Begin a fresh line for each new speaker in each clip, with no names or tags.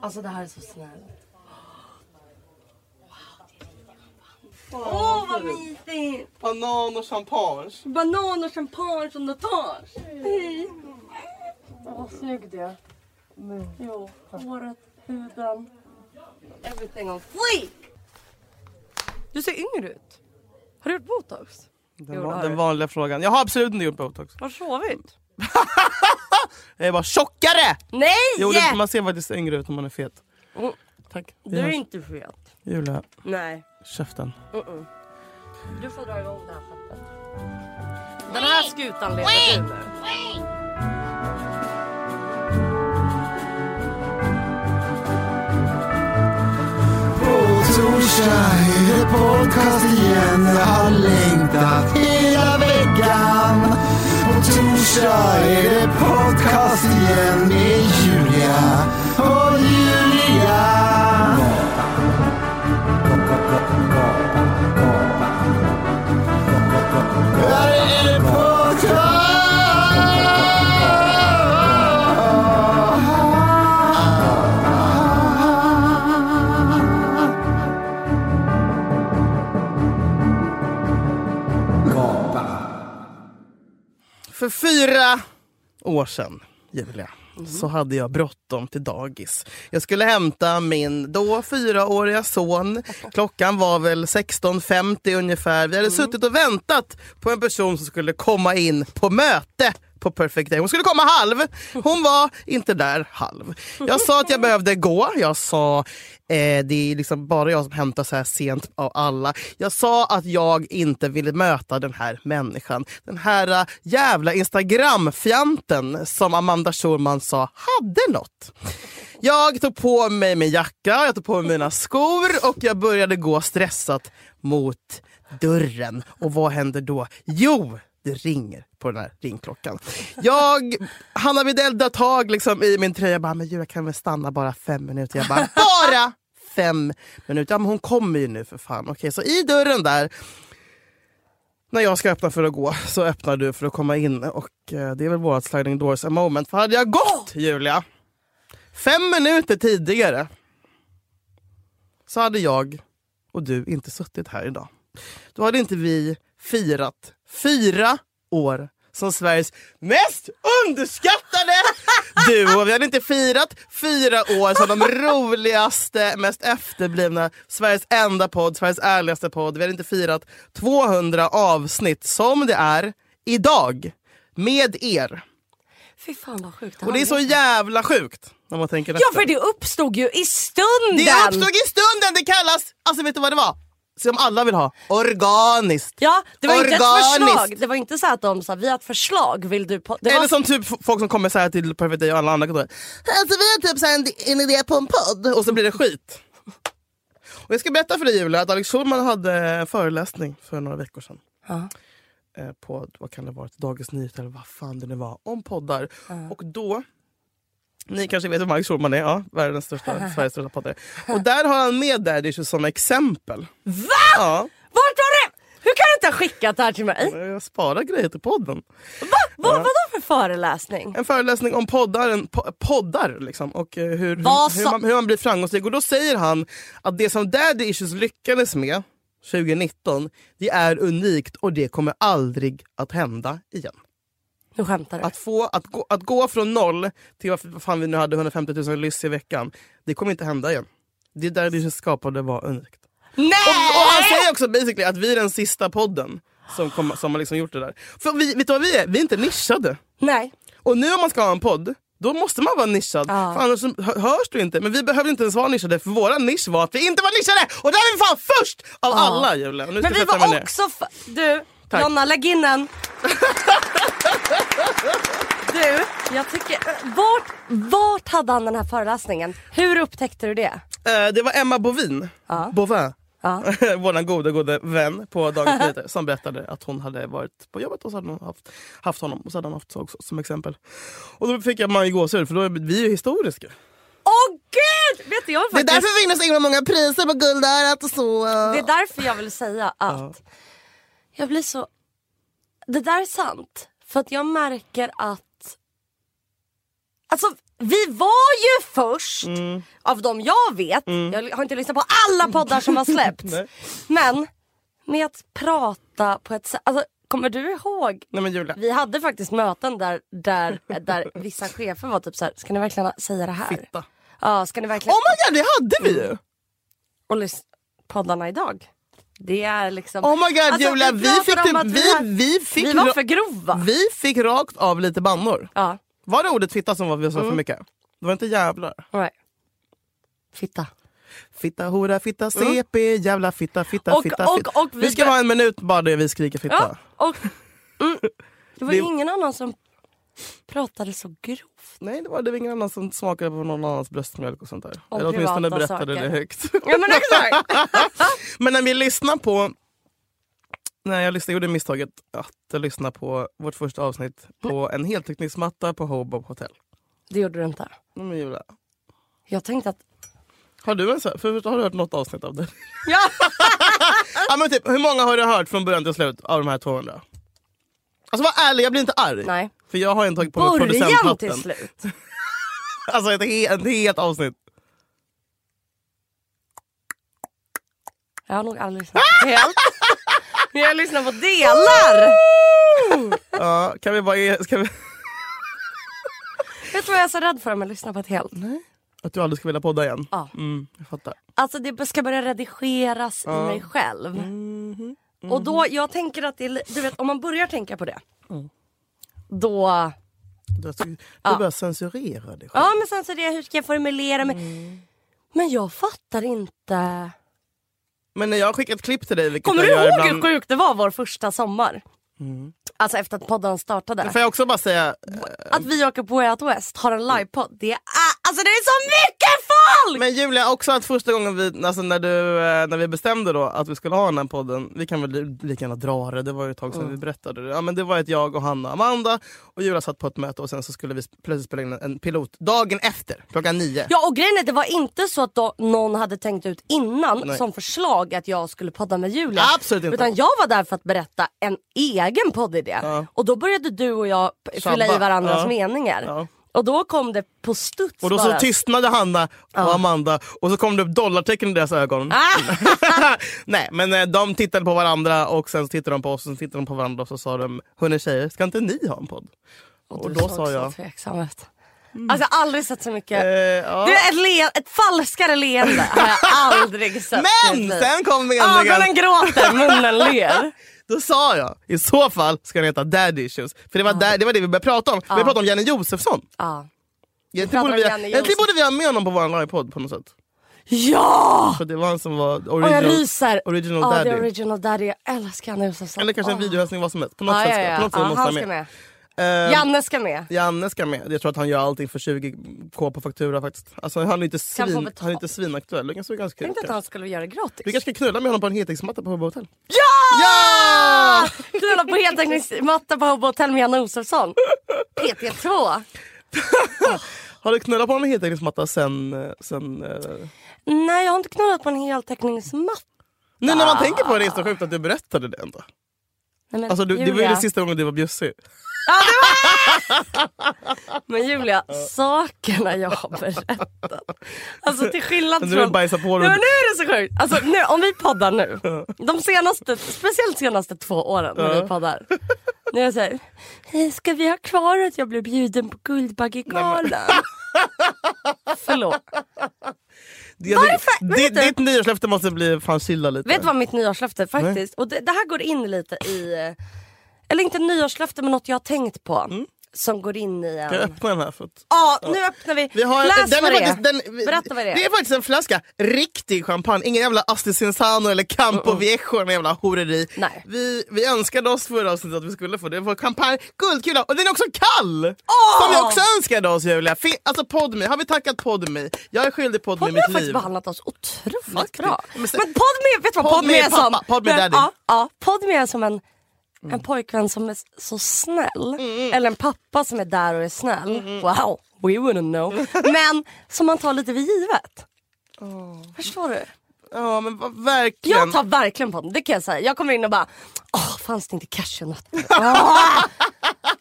Alltså det här är så snällt.
Åh, oh, vad mysigt!
Banan och champagne.
Banan och champagne från Natage. Hej!
Vad snygg du är.
Jo, håret, huden. Everything on fleek! Du ser yngre ut. Har du gjort botox?
Den,
Jo,
va-
det har
den
du.
vanliga frågan. Jag har absolut inte gjort botox.
Har du sovit?
Jag är bara tjockare!
Nej!
Jo, det, man ser faktiskt yngre ut om man är fet.
Mm.
Tack.
Du är
Yes.
inte fet.
Julia,
Nej.
käften.
Mm-mm. Du får dra igång det här skeppet. Den här skutan leder du nu.
På torsdag är det podcast igen. Jag har längtat hela veckan. På torsdag är det podcast igen med Julia och Julia. Där är det podcast.
För fyra år sedan, Julia, så hade jag bråttom till dagis. Jag skulle hämta min då fyraåriga son. Klockan var väl 16.50 ungefär. Vi hade suttit och väntat på en person som skulle komma in på möte på Perfect Day. Hon skulle komma halv. Hon var inte där halv. Jag sa att jag behövde gå. Jag sa eh, det är liksom bara jag som hämtar så här sent av alla. Jag sa att jag inte ville möta den här människan. Den här eh, jävla Instagram-fjanten som Amanda Schulman sa hade något. Jag tog på mig min jacka, jag tog på mig mina skor och jag började gå stressat mot dörren. Och vad händer då? Jo, det ringer på den här ringklockan. Jag, Hanna Widell drar tag liksom i min tröja. Jag bara, men Julia kan väl stanna bara fem minuter? Jag bara, bara fem minuter? Ja, men hon kommer ju nu för fan. Okej, så i dörren där när jag ska öppna för att gå så öppnar du för att komma in och eh, det är väl vårt sliding doors a moment. För hade jag gått Julia fem minuter tidigare så hade jag och du inte suttit här idag. Då hade inte vi firat fyra år som Sveriges mest underskattade duo. Vi hade inte firat fyra år som de roligaste, mest efterblivna, Sveriges enda podd, Sveriges ärligaste podd. Vi hade inte firat 200 avsnitt som det är idag med er.
Fy fan vad sjukt.
Och det är så jävla sjukt när man tänker
Ja
efter.
för det uppstod ju i stunden!
Det uppstod i stunden, det kallas, alltså vet du vad det var? Som alla vill ha, organiskt.
Ja, det var inte ett
Organiskt.
förslag. Det var inte så att de sa vi har ett förslag, vill du på... Det var...
Eller som typ f- folk som kommer så här till Perfect Day och alla andra kontor. Alltså vi har typ så här en, en idé på en podd och så blir det skit. Och jag ska berätta för dig Julia att Alex Schulman hade en föreläsning för några veckor sedan.
Ja.
Eh, På vad kan det vara, Dagens Nyheter eller vad fan det nu var, om poddar. Och då, ni kanske vet vem Alex Schulman är, ja, världens största, Sveriges största poddare. Och där har han med Daddish som exempel.
Va?
Ja,
Vart har du... Hur kan du inte ha skickat det här till mig?
jag sparar grejer till podden.
Vad vadå för föreläsning?
en föreläsning om poddar, en po- poddar liksom, och eh, hur,
Vad
hur, hur,
sa-
man, hur man blir framgångsrik. Och då säger han att det som Daddy Issues lyckades med 2019, det är unikt och det kommer aldrig att hända igen.
Nu skämtar du.
Att, få, att, gå, att gå från noll till varför- vad fan vi nu hade 150 000 lyss i veckan, det kommer inte hända igen. Det Daddy Issues skapade var unikt.
Nej!
Och han säger också basically att vi är den sista podden som, kom, som har liksom gjort det där. För vi, vet du vad vi är? Vi är inte nischade.
Nej.
Och nu om man ska ha en podd, då måste man vara nischad.
Ja.
För annars så hö- hörs du inte. Men vi behövde inte ens vara nischade, för vår nisch var att vi inte var nischade! Och där är vi fan först av alla Julia. Nu ska
Men
jag
vi
sätta mig
var
ner.
också... F- du,
Tack.
Jonna lägg in den. Du, jag tycker... Vart, vart hade han den här föreläsningen? Hur upptäckte du det?
Eh, Det var Emma Bovin,
Ja.
Bovin.
Ja.
vår goda, goda vän på Dagens Nyheter som berättade att hon hade varit på jobbet och så hade hon haft, haft honom och så hade han haft också, som exempel. Och då fick jag man ju gåshud för då är vi ju historiska.
Åh gud! Vet du, jag vill
Det är
faktiskt...
därför vi vinner så himla många priser på Guldörat och så.
Det är därför jag vill säga att jag blir så... Det där är sant. För att jag märker att... Alltså vi var ju först
Mm.
av de jag vet. Jag har inte lyssnat på alla poddar som har släppts.
Nej.
men med att prata på ett sätt... Alltså, kommer du ihåg?
Nej men Julia,
Vi hade faktiskt möten där, där, där vissa chefer var typ så här, ska ni verkligen säga det här?
fitta.
Ja, ska ni verkligen...
Oh my god, det hade vi ju!
Och lys- poddarna idag. Det är liksom...
Oh my god
Alltså,
Julia, vi,
pratar
fick, typ,
om att
vi,
har-
vi, fick
vi var
ra-
för grova.
vi fick rakt av lite bannor.
Ja,
Var det ordet fitta som var vi sa
Mm.
för mycket? Det var inte jävlar.
all right. Fitta.
Fitta, hora, fitta, CP, jävla fitta, fitta,
Mm. Och-
fitta.
och-
fitta.
och vi
vi ska
bör-
ha en minut bara där vi skriker fitta.
Ja, och... Mm, det var
Det-
ju ingen annan som pratade så grovt.
Nej, det var, det var ingen annan som smakade på någon annans bröstmjölk och sånt där.
Och
Eller åtminstone
privata
berättade
saker.
det högt.
Ja men exakt!
Men när vi lyssnar på... Nej, jag lyssnade, gjorde misstaget att lyssna på vårt första avsnitt på en heltäckningsmatta på Hobob Hotel.
Det gjorde du inte.
Nej, Men Julia,
Jag tänkte att...
har du, en, så- för, har du hört något avsnitt av
Äh.
det?
Ja!
ja, men typ, hur många har du hört från början till slut av de här 200? Alltså var ärlig, jag blir inte arg.
Nej.
För jag har inte tagit på mig
Början
producenthatten.
till slut.
Alltså ett, he- ett helt avsnitt.
Jag har nog aldrig lyssnat helt. Men jag lyssnar på delar.
Ja, kan vi bara ge, ska vi,
Vet du vad jag är så rädd för om jag lyssnar på ett helt?
att du aldrig ska vilja podda igen?
Ja.
Mm, jag fattar.
Alltså det ska börja redigeras i mig själv. Mm-hmm. Och då, jag tänker att det är, li- du vet om man börjar tänka på det. Då
Du, du börjar censurera dig själv.
Ja men sen så är det hur ska jag formulera mig?
Mm.
Men jag fattar inte.
Men när jag skickar ett klipp till dig, vilket
Kommer
jag
du
gör
ihåg hur
ibland... Mm.
sjukt det var vår första sommar? Alltså efter att podden startade.
Får jag också bara säga, eh,
Att vi åker på Way Out West har en livepodd. Det är, ah, alltså det är så mycket folk!
men Julia också att första gången vi, alltså när, du, eh, när vi bestämde då att vi skulle ha den här podden, vi kan väl li- lika gärna dra det, det var ju ett tag
Mm.
sedan vi berättade det. Ja, men det var att jag och Hanna och Amanda och Julia satt på ett möte och sen så skulle vi sp- plötsligt spela in en- en pilot dagen efter, klockan nio.
Ja och grejen är det var inte så att då någon hade tänkt ut innan
Nej.
som förslag att jag skulle podda med Julia.
Absolut inte.
Utan jag var där för att berätta en egen poddidé. Och då började du och jag p-
Sabba.
fylla i varandras
Ja.
meningar.
Ja.
Och då kom det på studs
Och då
bara.
så tystnade Hanna och Amanda och så kom det upp dollartecken i deras ögon.
Ah!
Nej men eh, de tittade på varandra och sen så tittade de på oss och sen tittade de på varandra och så sa de Hörni tjejer, ska inte ni ha en podd? Och,
Du
då
såg
sa
så
jag... Mm.
tveksam ut. Alltså jag har aldrig sett så mycket.
Eh, ja.
Du ett, le- ett falskare leende har jag aldrig sett. i
Men
mitt liv.
sen kom
Ögonen
meningen.
gråter, munnen ler.
Då sa jag, i så fall ska den heta Daddy Issues. För det
Ah.
var, där, det, var det vi började prata om. Vi pratade om Janne Josefsson.
Ja.
Egentligen
pratade
borde, vi, ha-
Ah. om Janne
egentligen
Josefsson.
borde vi ha med honom på vår livepodd på något sätt.
ja!
För det var han som var
Och
original,
Ah, jag ryser.
original
ja,
daddy.
det är original daddy. Jag älskar Janne Josefsson.
Eller kanske en
Åh.
videohälsning, vad som helst. På något
Ja,
sätt
Ah, ja,
ska,
ja.
på något sätt
ja,
måste
han
med.
ska med.
Eh,
Janne ska med.
Janne ska med. Jag tror att han gör allting för 20k på faktura faktiskt. Alltså, han, är inte
få
svin,
betalt.
han är inte svinaktuell. Det kanske är ganska kul.
Tänkte att han skulle göra det gratis.
Vi kanske ska knulla med honom på en heltäckningsmatta på Hubba Hotel.
Ja!
Ja!
Knulla på heltäckningsmatta på Hobo Hotel med Janne Josefsson. PT2.
Har du knullat på en heltäckningsmatta sen... eh, sen eh,
Nej, jag har inte knullat på en heltäckningsmatta.
Nu när
Ah.
man tänker på det, det är så sjukt att du berättade det ändå.
Nej, men
Alltså, du, det var ju
Julia.
den sista gången du var bjussig.
Men Julia, sakerna jag har berättat. Alltså till skillnad
Men
från...
nu har du bajsat på
Nej,
dig.
men nu är det så sjukt. Alltså nu, om vi poddar nu. De senaste, speciellt senaste två åren när vi poddar. Nu är jag såhär, "Hej, ska vi ha kvar att jag blev bjuden på Guldbaggegalan? Förlåt.
Det,
Varför? Men
det,
vet du-
ditt nyårslöfte måste bli fan chilla lite.
Vet du vad mitt nyårslöfte är eh,
Mm.
faktiskt? Och det, det här går in lite i, eller inte nyårslöfte men något jag har tänkt på. som går in i en.
Ska jag öppna den här? För att...
Ja, nu öppnar vi.
Vi har,
Läs
den
vad
är
det
faktiskt,
är.
den, vi-
Berätta vad det är.
Det är faktiskt en flaska riktig champagne. Ingen jävla Asti Cinzano eller Campo Viejo, någon jävla horeri.
Nej.
Vi, vi önskade oss förra avsnittet att vi skulle få det. Vi får champagne, guldkula och den är också kall! Som vi också önskade oss Julia. Fin, alltså Podmi, har vi tackat Podmi? Jag är skyldig Podmi
Podme har
mitt
faktiskt
liv.
behandlat oss otroligt
Faktiskt.
bra.
Men
Men,
se-
Podme, vet du vad
Podme
Podme
är
är som?
pappa, Podme är
Men,
daddy.
Ja, ja, Podme är som en, en pojkvän som är s- så snäll.
Mm,
Eller en pappa som är där och är snäll. Wow, we wouldn't know. Men som man tar lite för givet. Förstår du?
Ja men vad- verkligen.
Jag tar verkligen Podme, det kan jag säga. Jag kommer in och bara, åh fanns det inte cashewnötter? Ah!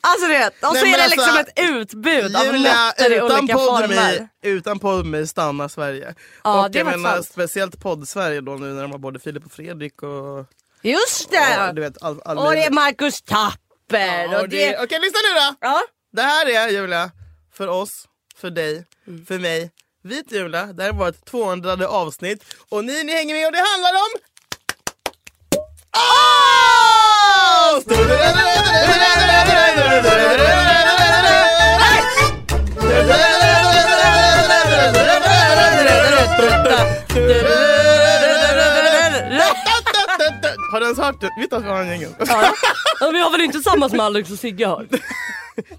Alltså du vet, och
Nej,
så
men
är det
alltså,
liksom ett utbud av
Julia,
nötter i
utan
olika
Podmi,
former.
utan Podmi stannar Sverige.
Ja,
och
det är
jag
faktiskt
menar,
sant.
speciellt podd-Sverige då nu när de har både Filip och Fredrik och...
Just
Ja,
det!
du vet, all, all
Och det är Marcus Tapper.
Ja,
och
det...
det...
Okej, lyssna nu då.
Ja.
Det här är Julia, för oss, för dig, för mig. Vit Julia, det här är vårt 200 avsnitt. Och ni, ni hänger med och det handlar om... Har du ens hört det? Vet du att vi har en jingel?
Men vi har väl inte samma som Alex och Sigge har?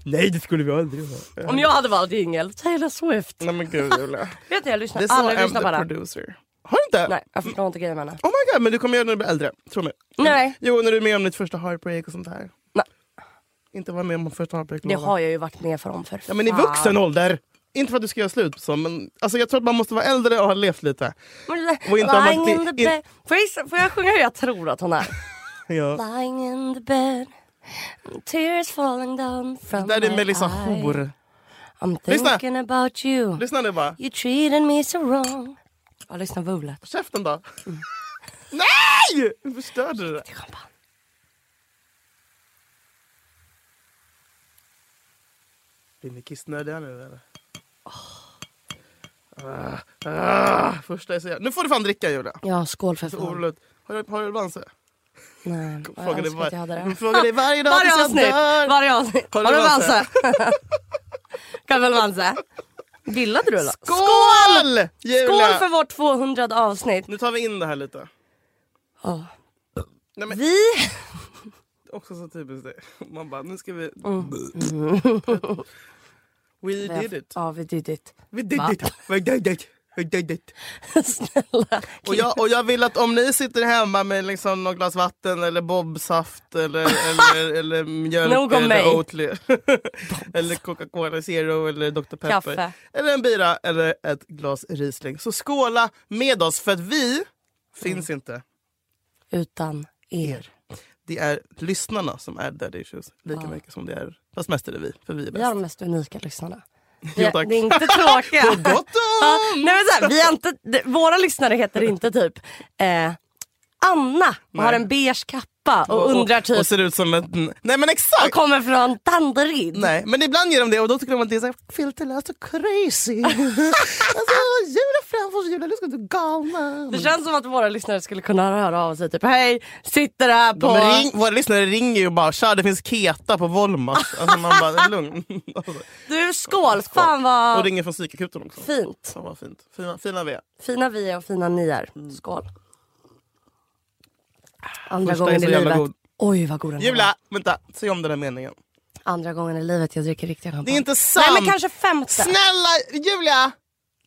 Nej det skulle vi aldrig ha.
Om jag hade valt jingel, Taylor Swift.
Nej men gud Julia.
Vet ni, jag lyssnar
Mm. Det sa
aldrig.
M
Lyssnar
the
bara.
producer. Har du inte?
Nej, jag förstår inte grejen med henne.
Oh my god, men du kommer göra det när du blir äldre. Tro mig.
Nej.
Jo, när du är med om ditt första heartbreak och sånt där.
Nej.
Inte vara med om första heartbreak.
Det
lova.
har jag ju varit med för om för
Mm. Ja, men i
fan.
vuxen ålder. Inte för att du ska göra slut så, men alltså, jag tror att man måste vara äldre och ha levt lite. Och inte har
Lying
varit i-
in the bed. Får jag, gissa- får jag sjunga hur jag tror att hon är?
Ja.
Lying in the bed. Tears falling down from
Där är
my
Melissa
eye.
Hor.
I'm
Lyssna.
thinking about you.
Lyssna nu bara.
You treated me so wrong. Ja, lyssna på Ola.
Käften då. Nej! Hur förstörde du det?
till champagne.
Blir ni kissnödiga nu eller? Ah, ah, första jag säger. Nu får du fan dricka Julia.
Ja, skål för
Så
fan.
oroligt. Har du, har du Bamse?
Nej, jag
Frågar dig
önskar att jag hade
var-
det.
frågar dig varje dag
Varje
tills
avsnitt!
jag dör.
Varje avsnitt.
Har
Har
du
du
Vanse?
Vanse? Kan väl Vanse? Gillade du eller?
Skål!
Skål
Julia!
för vårt 200 avsnitt.
Nu tar vi in det här lite.
Ja.
Nej, men,
Vi...
också så typiskt det. Man bara, nu ska vi...
Mm.
We did it.
Ja, vi did it.
We did
Va?
it. We did it. We did it.
Snälla.
Och jag, och jag vill att om ni sitter hemma med liksom något glas vatten eller bobsaft eller, eller, eller mjölk
Nog om mig.
eller Oatly. eller Coca-Cola Zero eller Dr Pepper.
Kaffe.
Eller en bira eller ett glas Riesling. Så skåla med oss för att vi
Mm.
finns inte.
Utan er.
Det är lyssnarna som är daddy issues lika mycket som det är, fast mest är det vi, för vi är
Vi är
bäst.
de mest unika lyssnarna. Vi
Jo,
är,
tack.
det är inte tråkiga.
På gott
Ja,
och ont!
Nej, men så här, vi är inte, de- våra lyssnare heter inte typ eh, Anna och har en beige kappa och, undrar typ
Och ser ut som ett... Nej men exakt!
och kommer från Danderyd.
Nej, men ibland gör de det och då tycker de att det är så här filterlöst och crazy. alltså, julen framför sig, julen, du ska du galna.
Det känns som att våra lyssnare skulle kunna höra av sig typ hej, sitter här på...
De ring, våra lyssnare ringer ju och bara “tja, det finns Keta på Volmas”. Alltså man bara “lugn”. Alltså,
Du skål, fan vad
och ringer från psykakuten också.
fint.
Fan vad fint. Fina, fina vi är.
Fina vi är och fina ni är. Skål. Andra
Mm. Första är
gången
så
i
jävla
livet.
god.
Oj vad god den var.
Julia, vänta. Säg om den där meningen.
Andra gången i livet jag dricker riktiga champagne.
Det är inte sant!
Nej men kanske femte.
Snälla Julia!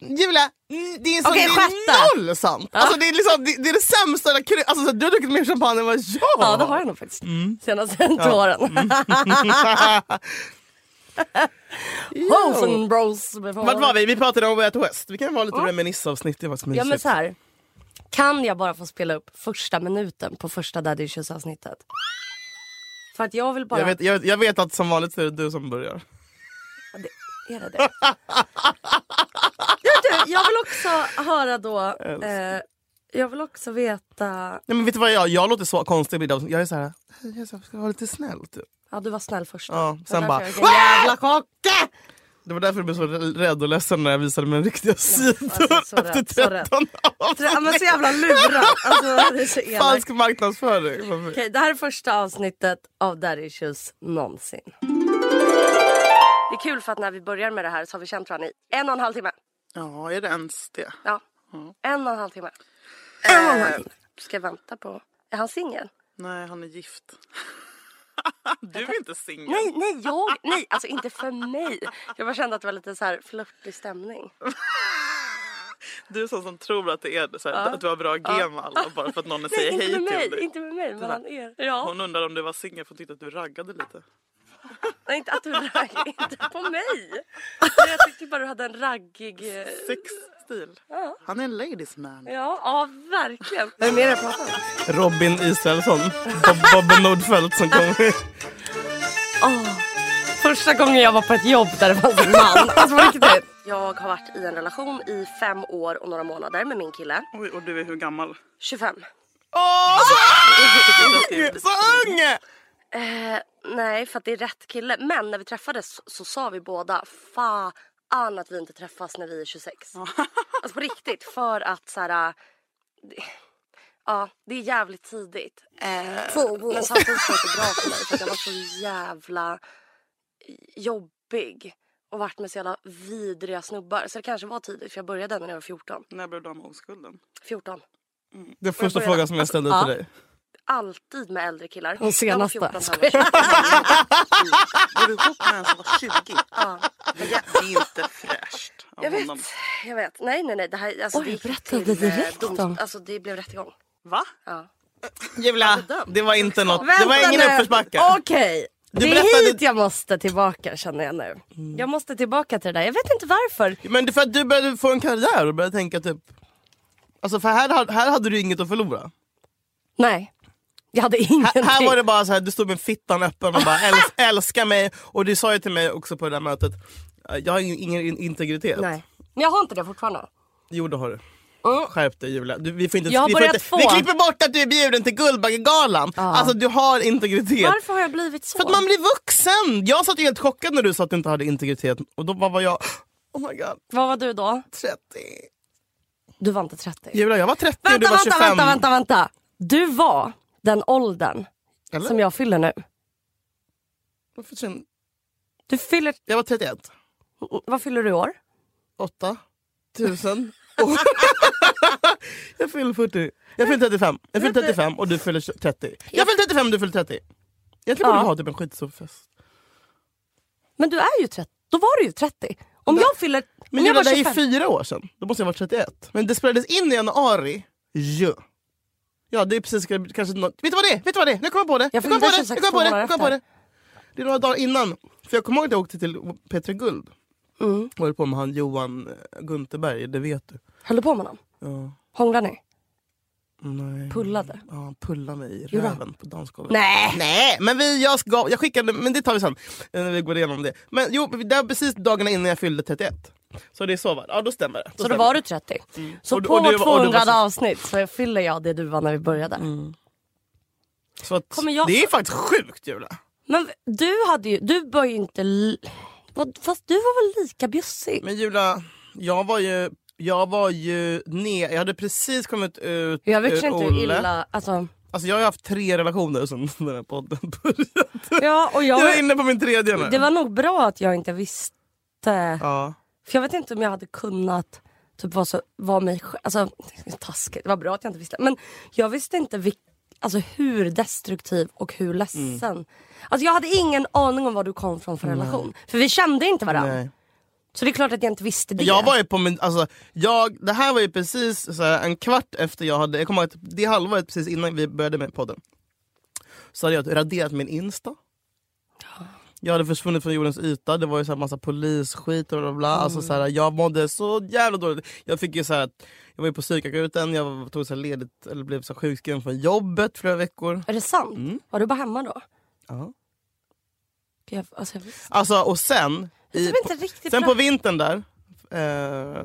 Julia, mm, det är, så,
Okej,
det är
sjätte.
noll sant! Alltså, det, är liksom, det, det är det sämsta jag kry- alltså, så Du har druckit mer champagne än vad jag
Ja det har jag nog faktiskt.
Mm.
Senaste ja. åren. Hosen bros.
Vart var vi? Vi pratade om Way Out West. Vi kan vara lite reminiscavsnitt. Det var faktiskt
Ja men
mysigt.
så här. Kan jag bara få spela upp första minuten på första Daddy Issues avsnittet? För att jag vill bara...
jag, vet, jag, vet- jag vet att som vanligt så är det du som börjar.
Är det det? ja, du, jag vill också höra då... Eh, jag vill också veta...
Nej, men vet du vad jag Jag låter så konstig. ibland. Jag är så här, "Hej, jag är så här, ska vara lite snäll. Typ.
Ja du var snäll först.
Ja,
Det var
sen
därför
bara,
jag fick en jävla kocke!
Det var därför jag blev så rädd och ledsen när jag visade mina riktiga sidor
alltså, så rädd,
efter
så rädd.
13
Ja, men
avsnitt.
så jävla lurad. Alltså, det är så elakt.
Falsk marknadsföring.
Okej, det här är första avsnittet av Daddy Issues någonsin.
Det är kul för att när vi börjar med det här så har vi känt varandra i en och en halv timme.
Ja, är det ens det? Eh,
Ja, en och en halv timme. En och en halv timme. Ska jag vänta på... Är han singel?
Nej, han är gift. du är inte singel.
Nej, nej, jag... Nej, alltså inte för mig. Jag bara kände att det var lite så här flörtig stämning.
Du är sån som tror att, det är, så här, att du har bra gem med alla bara för att någon säger
Nej, inte
hej
med
till
mig,
dig.
inte med mig, men han är... Ja,
Hon undrar om du var singel för hon tyckte att du raggade lite.
nej, inte att du ragg, inte på mig. Men jag tyckte bara du hade en raggig... eh,
Sexstil. Han är en ladies man.
Ja, ja verkligen. Vad är det mer jag pratar om?
Robin Israelsson. Bob, Bobben Nordfeldt som kom.
Första gången jag var på ett jobb där det fanns en man. Alltså på riktigt. Jag har varit i en relation i fem år och några månader med min kille.
Oj, och du är hur gammal?
25.
Åh, så ung! Så ung!
Nej, för att det är rätt kille. Men när vi träffades så, så sa vi båda fan att vi inte träffas när vi är 26. Alltså på riktigt. För att så här... äh, det- Ja, det är jävligt tidigt. Eh, men samtidigt så var det inte bra för mig för att jag var så jävla jobbig och varit med så jävla vidriga snubbar. Så det kanske var tidigt för jag började när jag var 14.
När blev du av med oskulden?
14.
Den första frågan som jag ställde till dig.
Alltid med äldre killar.
De senaste.
Jag var 14
Skojar.
heller.
Var du ihop med en som var 20?
Ja.
Det är inte fräscht av
Jag vet,
honom.
jag vet. Nej, nej, nej. Det här, alltså,
Oj,
det gick
berätta det
till, eh,
direkt
doms-
då.
Alltså, det blev rättegång.
Va?
Ja.
Julia, det var inte något.
Vänta
Det var ingen
nu.
uppförsbacke.
Okej. Det är
berättade-
hit jag måste tillbaka känner jag nu. Jag måste tillbaka till det där. Jag vet inte varför.
Men det är för att du började få en karriär och började tänka typ... Alltså för här, ha- här hade du inget att förlora.
Nej. Jag hade ingenting.
Här var det bara så här, du stod med fittan öppen och bara äls- älska mig. Och du sa ju till mig också på det där mötet, jag har ju ingen in- integritet.
Nej. Men jag har inte det fortfarande.
Jo det har du.
Mm.
Skärp dig Julia. Du, vi, får inte,
Jag har
vi, får
börjat
inte,
få.
vi klipper bort att du är bjuden till Guldbaggegalan. Alltså du har integritet.
Varför har jag blivit så?
För att man blir vuxen! Jag satt ju helt chockad när du sa att du inte hade integritet. Och då bara var jag, oh my god,
Vad var du då?
30.
Du var inte 30.
Julia jag var 30 och du
Vänta,
var
vänta,
25.
vänta, vänta, vänta. Du var den åldern
Eller?
som jag fyller nu.
Varför sen-
Du fyller...
Jag var 31.
Vad fyller du i år?
8 tusen. jag fyller 40. Jag fyller 35. Jag fyller 35 och du fyller 30. Jag fyller 35 du fyller 30. Jag tror
Ja.
borde vi ha typ en skitstorfest.
Men du är ju 30. Då var du ju 30. Om jag fyller...
Men
om jag
Julia,
var
det där är
25.
fyra år sedan. Då måste jag vara 31. Men det spelades in i januari. Ja. Ja, det är precis kanske något. Vet du vad det är? Vet du vad det är? Nu kommer jag på det.
Jag
nu kommer jag på det.
fyllde
Nu kommer jag på det. Nu
26
kommer jag på det. Det är några dagar innan. För jag kommer ihåg att jag åkte till P3 Guld.
Mm.
Och höll på med han Johan eh, Gunterberg, det vet du.
Höll du på med honom?
Ja. Mm.
Hånglade ni?
Nej.
Pullade?
Ja, han pullade mig i
Gjorde
röven på dansgolvet.
Nej!
Nej, men vi, jag, ska, jag skickade, men det tar vi sen eh, när vi går igenom det. Men jo, det var precis dagarna innan jag fyllde 31. Så det är så va? Ja, då stämmer det.
Så då
stämmer
var
det.
du 30.
Mm.
Så
Och du-
på
och du- och du var
200
så- Mm.
avsnitt så fyller jag det du var när vi började.
Så att,
Kommer jag-
Det är faktiskt sjukt Julia.
Men du hade ju, du var ju inte... li- vad- Fast du var väl lika bjussig?
Men Julia, jag var ju, jag var ju ner, jag hade precis kommit ut
Jag vet
ur
inte hur
Olle.
illa... Alltså,
Alltså jag har haft tre relationer sedan den här podden började.
ja, och jag,
Jag är inne på min tredje nu.
det var nog bra att jag inte visste.
Ja.
För jag vet inte om jag hade kunnat typ vara, så, vara mig själv. Alltså, taskigt. Det var bra att jag inte visste. Men jag visste inte vil, alltså, hur destruktiv och
Mm.
hur ledsen. Alltså, jag hade ingen aning om vad du kom från för relation. För vi kände inte varandra.
Nej.
Så det är klart att jag inte visste det.
Jag var ju på min, alltså, jag, det här var ju precis så här, en kvart efter jag hade, jag kommer ihåg att det halvåret precis innan vi började med podden. Så hade jag raderat min Insta. Jag hade försvunnit från jordens yta, det var ju så här massa polisskit och bla bla bla. Alltså, så här, jag mådde så jävla dåligt. Jag fick ju så här, jag var ju på psykakuten, jag tog så här ledigt, eller blev så här sjukskriven från jobbet flera veckor.
Är det sant? Var du bara hemma då?
Ja.
Jag, alltså, jag visste
Alltså och sen, i,
det var inte riktigt
Sen
bra.
på vintern där, eh,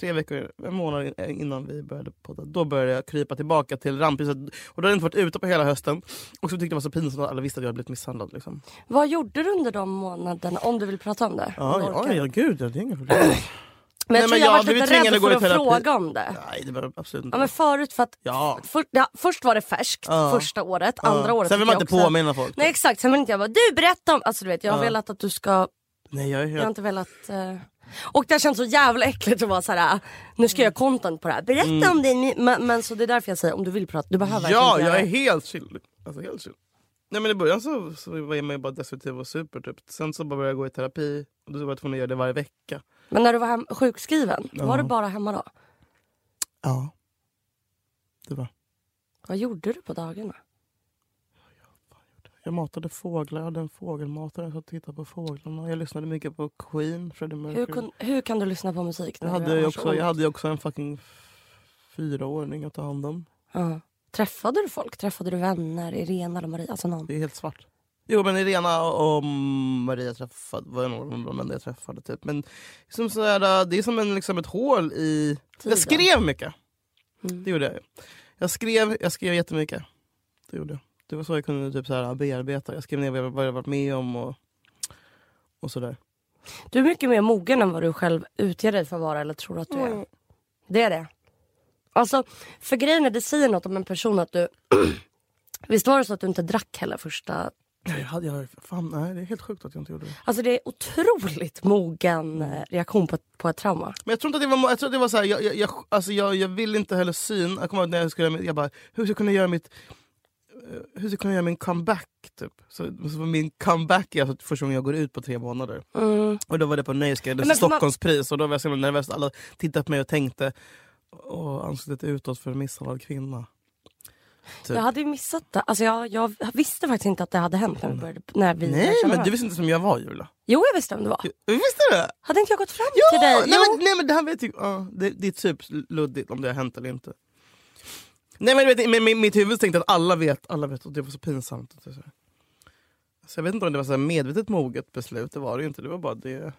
tre veckor, en månad in- eh, innan vi började podda, då började jag krypa tillbaka till ramphuset. Och då hade jag inte varit ute på hela hösten. Och så tyckte jag det var så pinsamt att alla visste att jag hade blivit misshandlad. Liksom.
Vad gjorde du under de månaderna? Om du vill prata om det. om
Ja,
du
ja,
orkar.
ja, gud, ja, det är inga problem.
Men jag
Nej, men
tror jag,
jag
jag var
blev
lite
tvingad
rädd
att gå
för
i
att
terapi.
fråga om det.
Nej, det var absolut inte.
Ja, men förut för att
Ja.
för, ja, först var det färskt,
Ja.
första året,
Ja.
andra året
Sen vill man
fick
inte
jag också-
påminna folk.
Nej exakt, sen vill inte jag bara du berätta om, alltså du vet jag har velat att du ska
Nej, jag är helt...
Jag har inte velat... eh, Och det har känts så jävla äckligt att vara så här. nu ska jag göra content på det här. Berätta om din... Men, men så det är därför jag säger om du vill prata, du behöver
Mm. Ja,
verkligen inte
jag är
göra det.
helt chill. Alltså, helt chill. Nej, men I början så, så var man ju bara destruktiv och super. Typ. Sen så bara började jag gå i terapi och då var jag tvungen att göra det varje vecka.
Men när du var hem, sjukskriven,
Ja.
var du bara hemma då?
Ja. Det var.
Vad gjorde du på dagarna?
Jag matade fåglar, jag hade en fågelmatare. Jag satt och tittade på fåglarna. Jag lyssnade mycket på Queen, Freddie Mercury.
Hur, kun, hur kan du lyssna på musik?
jag,
när
hade
du
ju
har så
också,
ont?
jag hade ju också en fucking f- fyraåring att ta hand om.
Ja. Träffade du folk? Träffade du vänner? Irena eller Maria? Alltså någon.
Det är helt svart. Jo men Irena och Maria träffade, var nog de enda jag träffade. Typ. Men som sådär, det är som en, liksom ett hål i...
Tiden. Mm.
Jag skrev mycket. Det gjorde jag ju. Jag skrev, jag skrev jättemycket. Det gjorde jag. Det var så jag kunde typ såhär, bearbeta. Jag skrev ner vad jag- vad jag varit med om och, och sådär.
Du är mycket mer mogen än vad du själv utger dig för att vara eller tror att du
Mm.
är. Det är det. Alltså, för grejen är, det säger något om en person att du... Visst var det så att du inte drack heller första...
Nej, Jag hade, jag, fan, nej, det är helt sjukt att jag inte gjorde det.
Alltså det är otroligt mogen eh, reaktion på, på ett trauma.
Men jag tror inte att det var, jag tror att det var så här, jag, jag, jag, alltså jag, jag vill inte heller syn. Jag kommer ihåg när jag skulle göra mitt, jag bara, hur ska jag kunna göra mitt eh, hur ska jag kunna göra min comeback? Typ. Så, så min comeback är alltså första gången jag går ut på tre månader. Och då var det på
Men
Nöjesguiden,
man-
Stockholmspris. Och då var jag så himla nervös. Alla tittade på mig och tänkte, åh, ansiktet utåt för en misshandlad kvinna. Typ.
Jag hade ju missat det. Alltså jag, jag visste faktiskt inte att det hade hänt när vi började. När vi
Nej,
lärde känna
men du
varandra.
visste inte som jag var Julia.
Jo, jag visste vem det var.
Visste du det?
Hade inte jag gått fram till dig?
Ja, nej,
Jo.
men, nej men det här vet jag, ja, det, det är typ luddigt om det har hänt eller inte. Nej men du vet, med, med, mitt huvud tänkte att alla vet, alla vet och det var så pinsamt. Och så, här. så jag vet inte om det var så här medvetet moget beslut, det var det ju inte. Det var bara det.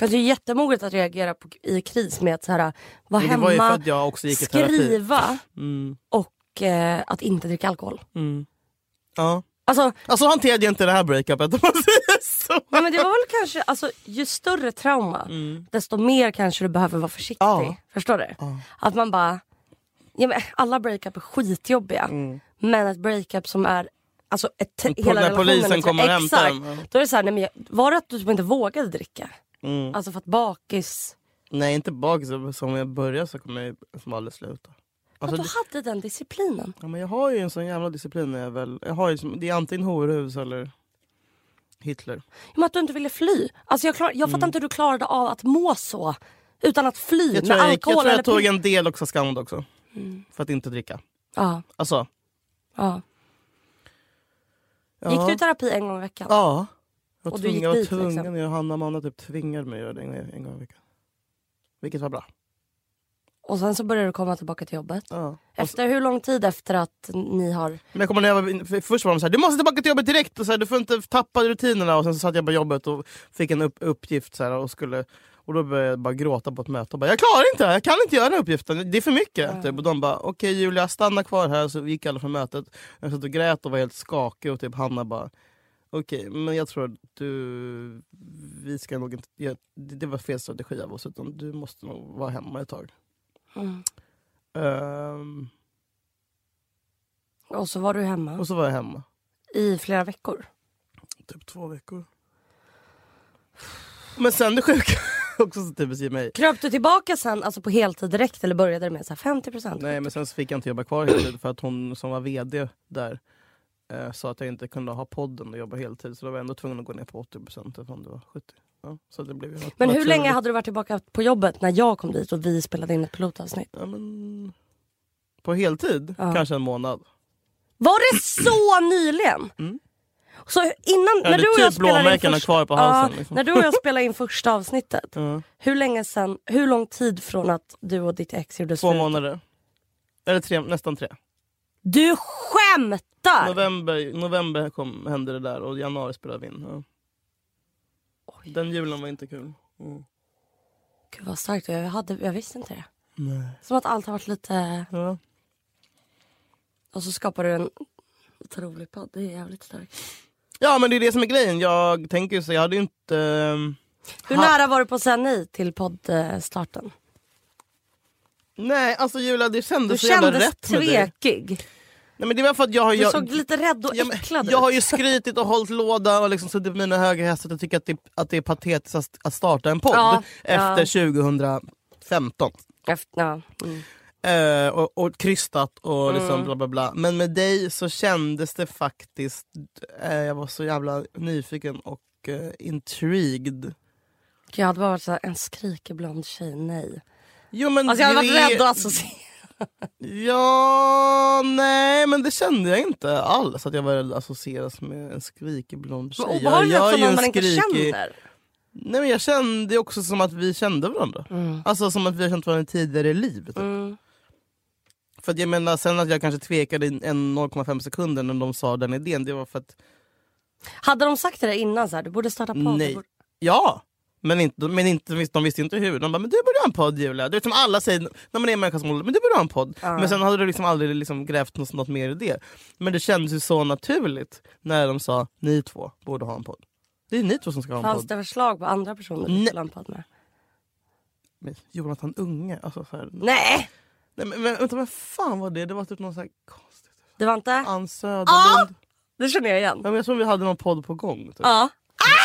Fast det är jättemoget att reagera på, i kris med att så här, vara
Men det var ju för
hemma,
att jag också gick i terapi.
skriva
Mm,
och eh, att inte dricka alkohol.
mm. Ja.
Alltså,
Alltså hanterade jag inte det här breakupet om man säger så.
nej, men det var väl kanske, alltså, ju större trauma desto mer kanske du behöver vara försiktig.
Mm. Ja.
Förstår du? Att man bara, ja, men alla breakup är skitjobbiga men ett breakup som är Alltså ett, hela
Mm. när
relationen
polisen
är så-
kommer och hämtar
Exakt.
en, ja.
Då är det så här, nej, men jag, var det att du typ inte vågade dricka?
Mm.
Alltså för att bakis...
Nej inte bakis, som jag börjar så kommer jag som aldrig sluta. Alltså,
att
det-
du hade den disciplinen.
Ja, men jag har ju en sån jävla disciplin. när Jag väl, jag har ju, som- det är antingen horhus eller Hitler.
Men att du inte ville fly. Alltså jag klar, jag fattar inte hur du klarade av att må så. Utan att fly
Mm. Jag tror
med
jag, gick,
alkohol
jag, tror
eller
jag tog
pil-
en del också skand också. För att inte dricka.
ja,
Alltså,
ja.
ja.
Gick du i terapi en gång i veckan?
Ja. Jag var
Och du
tvungen,
gick
jag var
dit,
tvungen.
liksom?
Jag och Hanna och Amanda typ tvingade mig att göra det en, en gång i veckan. Vilket var bra.
Och sen så började du komma tillbaka till jobbet.
Ja.
Efter hur lång tid efter att ni har...
Men jag kommer när jag var, för- först var de såhär, du måste tillbaka till jobbet direkt, och så här, du får inte tappa rutinerna. Och sen så satt jag på jobbet och fick en upp, uppgift så här, och skulle och då började jag bara gråta på ett möte och bara jag klarar inte det här, jag kan inte göra den här uppgiften, det är för mycket. Typ. Och de bara okej Julia stanna kvar här, så gick alla från mötet. Jag satt och grät och var helt skakig och typ Hanna bara okej men jag tror att du, vi ska nog inte, jag, det, det var fel strategi av oss utan du måste nog vara hemma ett tag. Mm. Ehm,
Och så var du hemma
och så var jag hemma,
i flera veckor.
typ två veckor. Men sen det sjuka, också så typiskt i mig,
Kröp du tillbaka sen alltså på heltid direkt eller började det med så här 50%?
Nej men sen så fick jag inte jobba kvar heltid för att hon som var VD där eh, sa att jag inte kunde ha podden och jobba heltid så då var jag ändå tvungen att gå ner på 80 procent eftersom det var 70. Ja, så det blev ju nat-
Men hur
naturligt.
länge hade du varit tillbaka på jobbet när jag kom dit och vi spelade in ett pilotavsnitt?
ja, men, På heltid? Kanske en månad.
Var det så nyligen? Så innan,
Ja,
när
det är
du och
Mm. typ
jag spelade in
blåmärkena kvar på halsen,
Ja,
liksom.
När du och jag spelade in första avsnittet,
Ja.
hur länge sen, hur lång tid från att du och ditt ex gjorde
Två
slut?
månader. Eller tre, nästan tre.
Du skämtar!
November, november kom, hände det där och i januari spelade vi in. Ja. Den julen var inte kul.
Gud vad starkt, jag, hade, jag visste inte det.
Nej.
Som att allt har varit lite...
Ja.
Och så skapar du en otrolig podd, det är jävligt starkt.
ja men det är det som är grejen. Jag tänker ju så, jag hade ju inte... ehm,
Hur
Ha-
nära var du på att säga nej till poddstarten?
Nej, alltså Julia det
Du
kändes så jävla
kändes
rätt med dig.
tvekig.
Nej, men det var för att jag, har-
Du
jag,
såg lite rädd och
Ja, men
äcklad
Jag har
ut.
ju skrytit och hållit låda och liksom suttit på mina höga hästar och tycker att det, att det är patetiskt att, att starta en podd
Ja,
efter 2015.
Efter, ja. mm.
Eh, och, och krystat och liksom bla bla bla. Men med dig så kändes det faktiskt... Eh, jag var så jävla nyfiken och eh, intrigued.
Jag hade bara varit så här, en skriker blond tjej, nej.
Jo, men
Alltså jag hade
det-
varit rädd och associerad.
Ja, nej men det kände jag inte alls. Att jag var associeras med en skrikig blond tjej.
Vad
Jag-
obehagligt
jag är
också
ju
någon
en
man inte
skrikig-
känner.
Nej, men jag kände ju också som att vi kände varandra.
Mm.
Alltså som att vi har känt varandra tidigare i livet. Typ. För att jag menar sen att jag kanske tvekade i en 0,5 sekunder när de sa den idén. Det var för att
Hade de sagt det där innan, så här, du borde starta podd. du
nej.
Borde...
Ja! Men, inte, men inte, de visste ju inte hur. De bara, men du borde ha en podd Julia. Du vet som alla säger när man är en människa som håller, men du borde ha en podd. Men sen hade du liksom aldrig liksom grävt något, något mer i det. Men det kändes ju så naturligt när de sa, ni två borde ha en podd. Det är ni två som ska ha en
Fanns
podd.
det förslag på andra personer du
Nej.
skulle ha en podd med?
Men Jonathan Unge, alltså så här,
Nej!
Nej men, men vänta, vad fan var det? Det var typ någon sån här konstigt.
Det var inte?
Ann
Ah!
Söderlund.
Det känner jag igen.
Ja, men jag tror vi hade någon podd på gång. Typ.
Ja.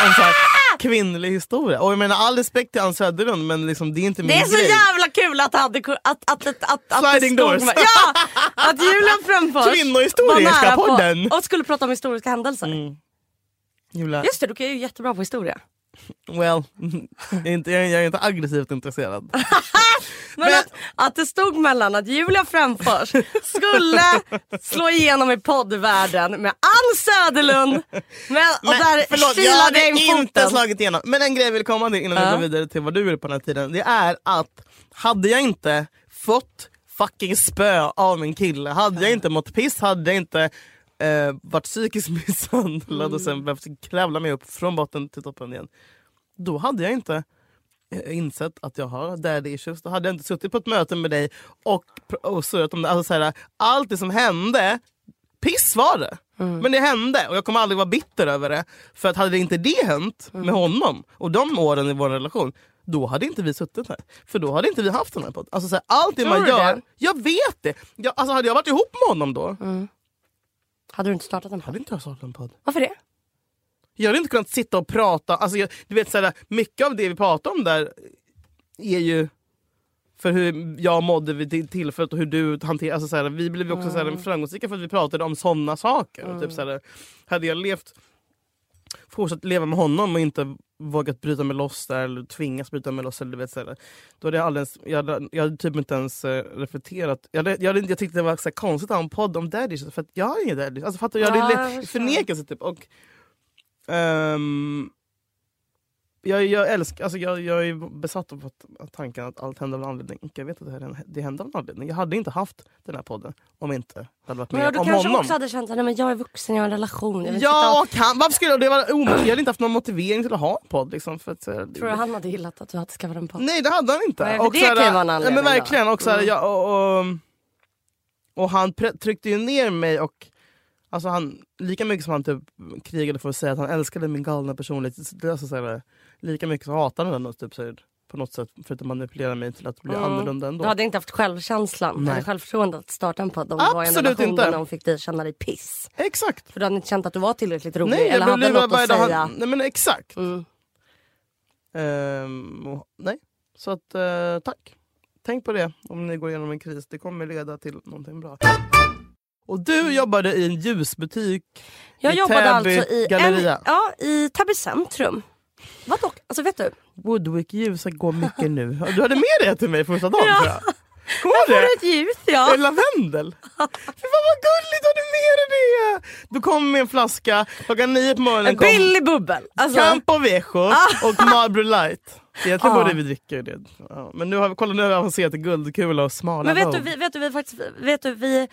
En sån här kvinnlig historia. Och jag menar all respekt till Ann Söderlund men liksom, det är inte min
Det är så
grej.
jävla kul att, hade, ku- att, att, att, att, att
Sliding
det stod
doors.
med- Ja! Att Julia Fränfors
Kvinnohistoriska
var nära på-
podden. Mm.
och skulle prata om historiska händelser.
Julia,
Just det, du är ju jättebra på historia.
well, jag är, inte, jag, är, jag är inte aggressivt intresserad.
Men,
Men-
Att, att det stod mellan att Julia Fränfors skulle slå igenom i poddvärlden med Ann Söderlund men, och där
förlåt, jag
kilade jag
hade
in
inte
foten.
slagit igenom. Men en grej jag vill komma till innan vi
Ja.
går vidare till vad du gjorde på den här tiden. Det är att hade jag inte fått fucking spö av min kille, hade jag inte mått piss, hade jag inte eh, varit psykiskt misshandlad och
Mm.
sen behövt kravla mig upp från botten till toppen igen. Då hade jag inte eh, insett att jag har daddy issues. Då hade jag inte suttit på ett möte med dig och, pr- och surrat om det. Alltså, så här, allt det som hände, piss var det.
Mm.
Men det hände och jag kommer aldrig vara bitter över det. För att hade det inte det hänt
Mm.
med honom och de åren i vår relation, då hade inte vi suttit här. För då hade inte vi haft den här podden. Alltså, så här, allt det
Tror
man
du
gör,
det? Mm.
jag vet det. Jag, alltså, hade jag varit ihop med honom då,
Hade du inte startat en podd?
hade inte jag startat en podd.
Varför det?
Jag hade inte kunnat sitta och prata. Alltså, jag, du vet, så här, mycket av det vi pratar om där är ju för hur jag mådde vid till- tillfället och hur du hanterade... Alltså, så här, vi blev ju också så
Mm.
här, framgångsrika för att vi pratade om sådana saker. Typ, så här, hade jag levt fortsatt leva med honom och inte vågat bryta mig loss där, eller tvingats bryta mig loss. Eller, du vet, så här, då hade jag, aldrig ens, jag, hade, jag hade typ inte ens eh, reflekterat. Jag, hade, jag, hade, inte- jag tyckte det var så här konstigt att ha en podd om daddy issues, för att jag har inga daddy issues. alltså, fattar du? Jag hade
Ja, jag
le-
förstår.
förnekelse typ. Och, ehm, jag, jag älskar, alltså jag, jag är besatt av att, av tanken att allt händer av en anledning. Och Jag vet att det, här, det hände av en anledning. Jag hade inte haft den här podden om inte det hade varit
Men
med
du
om
kanske
honom.
också hade känt att jag är vuxen, jag har en relation. Jag vill
Ja, och han, varför skulle jag, det vara omöjligt? Jag hade inte haft någon motivering till att ha en podd. Liksom, för att, så här,
sitta, tror du han hade gillat att du hade skaffat en podd?
Nej, det hade han inte.
Nej, för det
så här,
kan ju vara en
nej,
anledning
men
då. Mm.
verkligen. Och, så här, jag, och, och, och han pre- tryckte ju ner mig och alltså han, lika mycket som han typ krigade för att säga att han älskade min galna personlighet, så- det är alltså, så här, lika mycket så hatade han den och typ, så här, på något sätt försökte manipulera mig till att bli annorlunda ändå.
Du hade inte haft självkänslan
Nej.
eller självförtroendet att starta en podd om du var i en
Absolut
relation
inte.
där någon fick dig känna dig piss.
Exakt.
För du hade inte känt att du var tillräckligt rolig
Nej,
eller
jag
hade
blev lurad
något
varje
att
dag.
säga.
Han- Nej, men exakt.
Mm.
Ehm, och, nej, så att eh, tack. Tänk på det om ni går igenom en kris. Det kommer leda till någonting bra. Och du jobbade i en ljusbutik.
Jag
I
jobbade
Täby
alltså i,
galleria.
en, ja, i Täby centrum. Vad dock, alltså vet du?
Woodwick ljus går mycket nu. Du hade med det till mig första dagen
Ja.
tror jag. Kommer du
Var
ihåg
det
det?
ett ljus ja?
En lavendel. Fy fan vad gulligt, du hade med dig det! Du kom med en flaska klockan nio på morgonen.
En
Kom
billig bubbel. Alltså,
Campo Vejo och Marlboro Light. Egentligen
Ah.
borde vi dricka ju det. Ja, men nu har vi, kolla nu har vi avancerat till guldkula och smala
men vet
bowl.
du, vi, vet du, vi faktiskt, vet du, vi...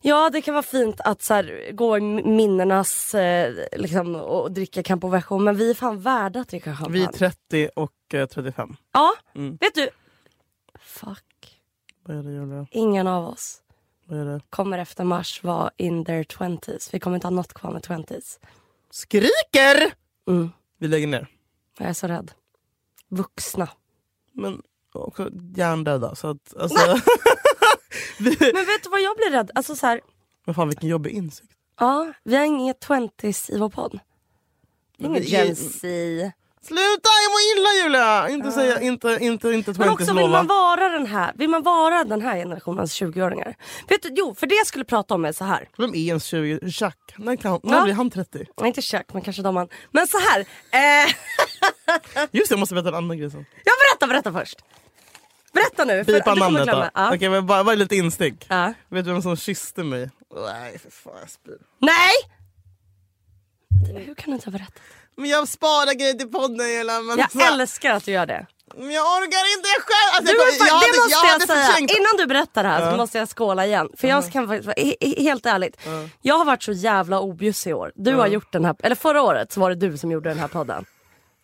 Ja det kan vara fint att så här, gå i minnenas eh, liksom, och dricka Campo Viejo men vi är fan värda att dricka champagne.
Vi är 30 och eh, 35.
Ja,
Mm.
vet du? Fuck.
Vad är det Julia?
Ingen av oss
Vad är det?
kommer efter mars vara in their twenties. Vi kommer inte ha något kvar med twenties.
Skriker!
Mm.
Vi lägger ner.
Jag är så rädd. Vuxna.
Men också hjärndöda. Så att, alltså, vi,
Men vet du vad jag blir rädd? Alltså så här,
Men fan vilken jobbig insikt.
Ja, vi har inget 20s i vår podd. Det är
Men
inget
det är-
Gen Z.
Sluta! Jag mår illa Julia! Inte säga, inte, inte, inte
Ah. Men också
20s
vill man
lova.
vara den här, vill man vara den här generationens 20-åringar? Vet du, jo, för det jag skulle prata om är så här.
Vem är ens 20? Jack? När, kan, när
Ja. Eh.
blir han 30?
Nej, Inte kök, men kanske de man. Men så här. Eh,
Just det, jag måste berätta en annan grej sen.
jag berättar, berätta först. Berätta nu. för
Pipa
du kommer
namnet då.
glömma. Ja.
Okej, men bara, bara lite instick.
Ja.
Vet du vem som kysste mig? Nej, för fan jag spyr.
Nej! Hur kan du inte ha berättat?
Men jag sparar grejer till podden Julia. Men
Jag
så här-
älskar att du gör det.
Men jag orkar inte jag själv! Alltså,
Du,
jag,
men fan,
jag,
det
hade-
måste jag,
hade
säga.
förträngt-
Innan du berättar det här så
Ja.
måste jag skåla igen. För jag kan faktiskt vara he- he- helt ärligt. Jag har varit så jävla objussig i år. Du har gjort den här, eller förra året så var det du som gjorde den här podden.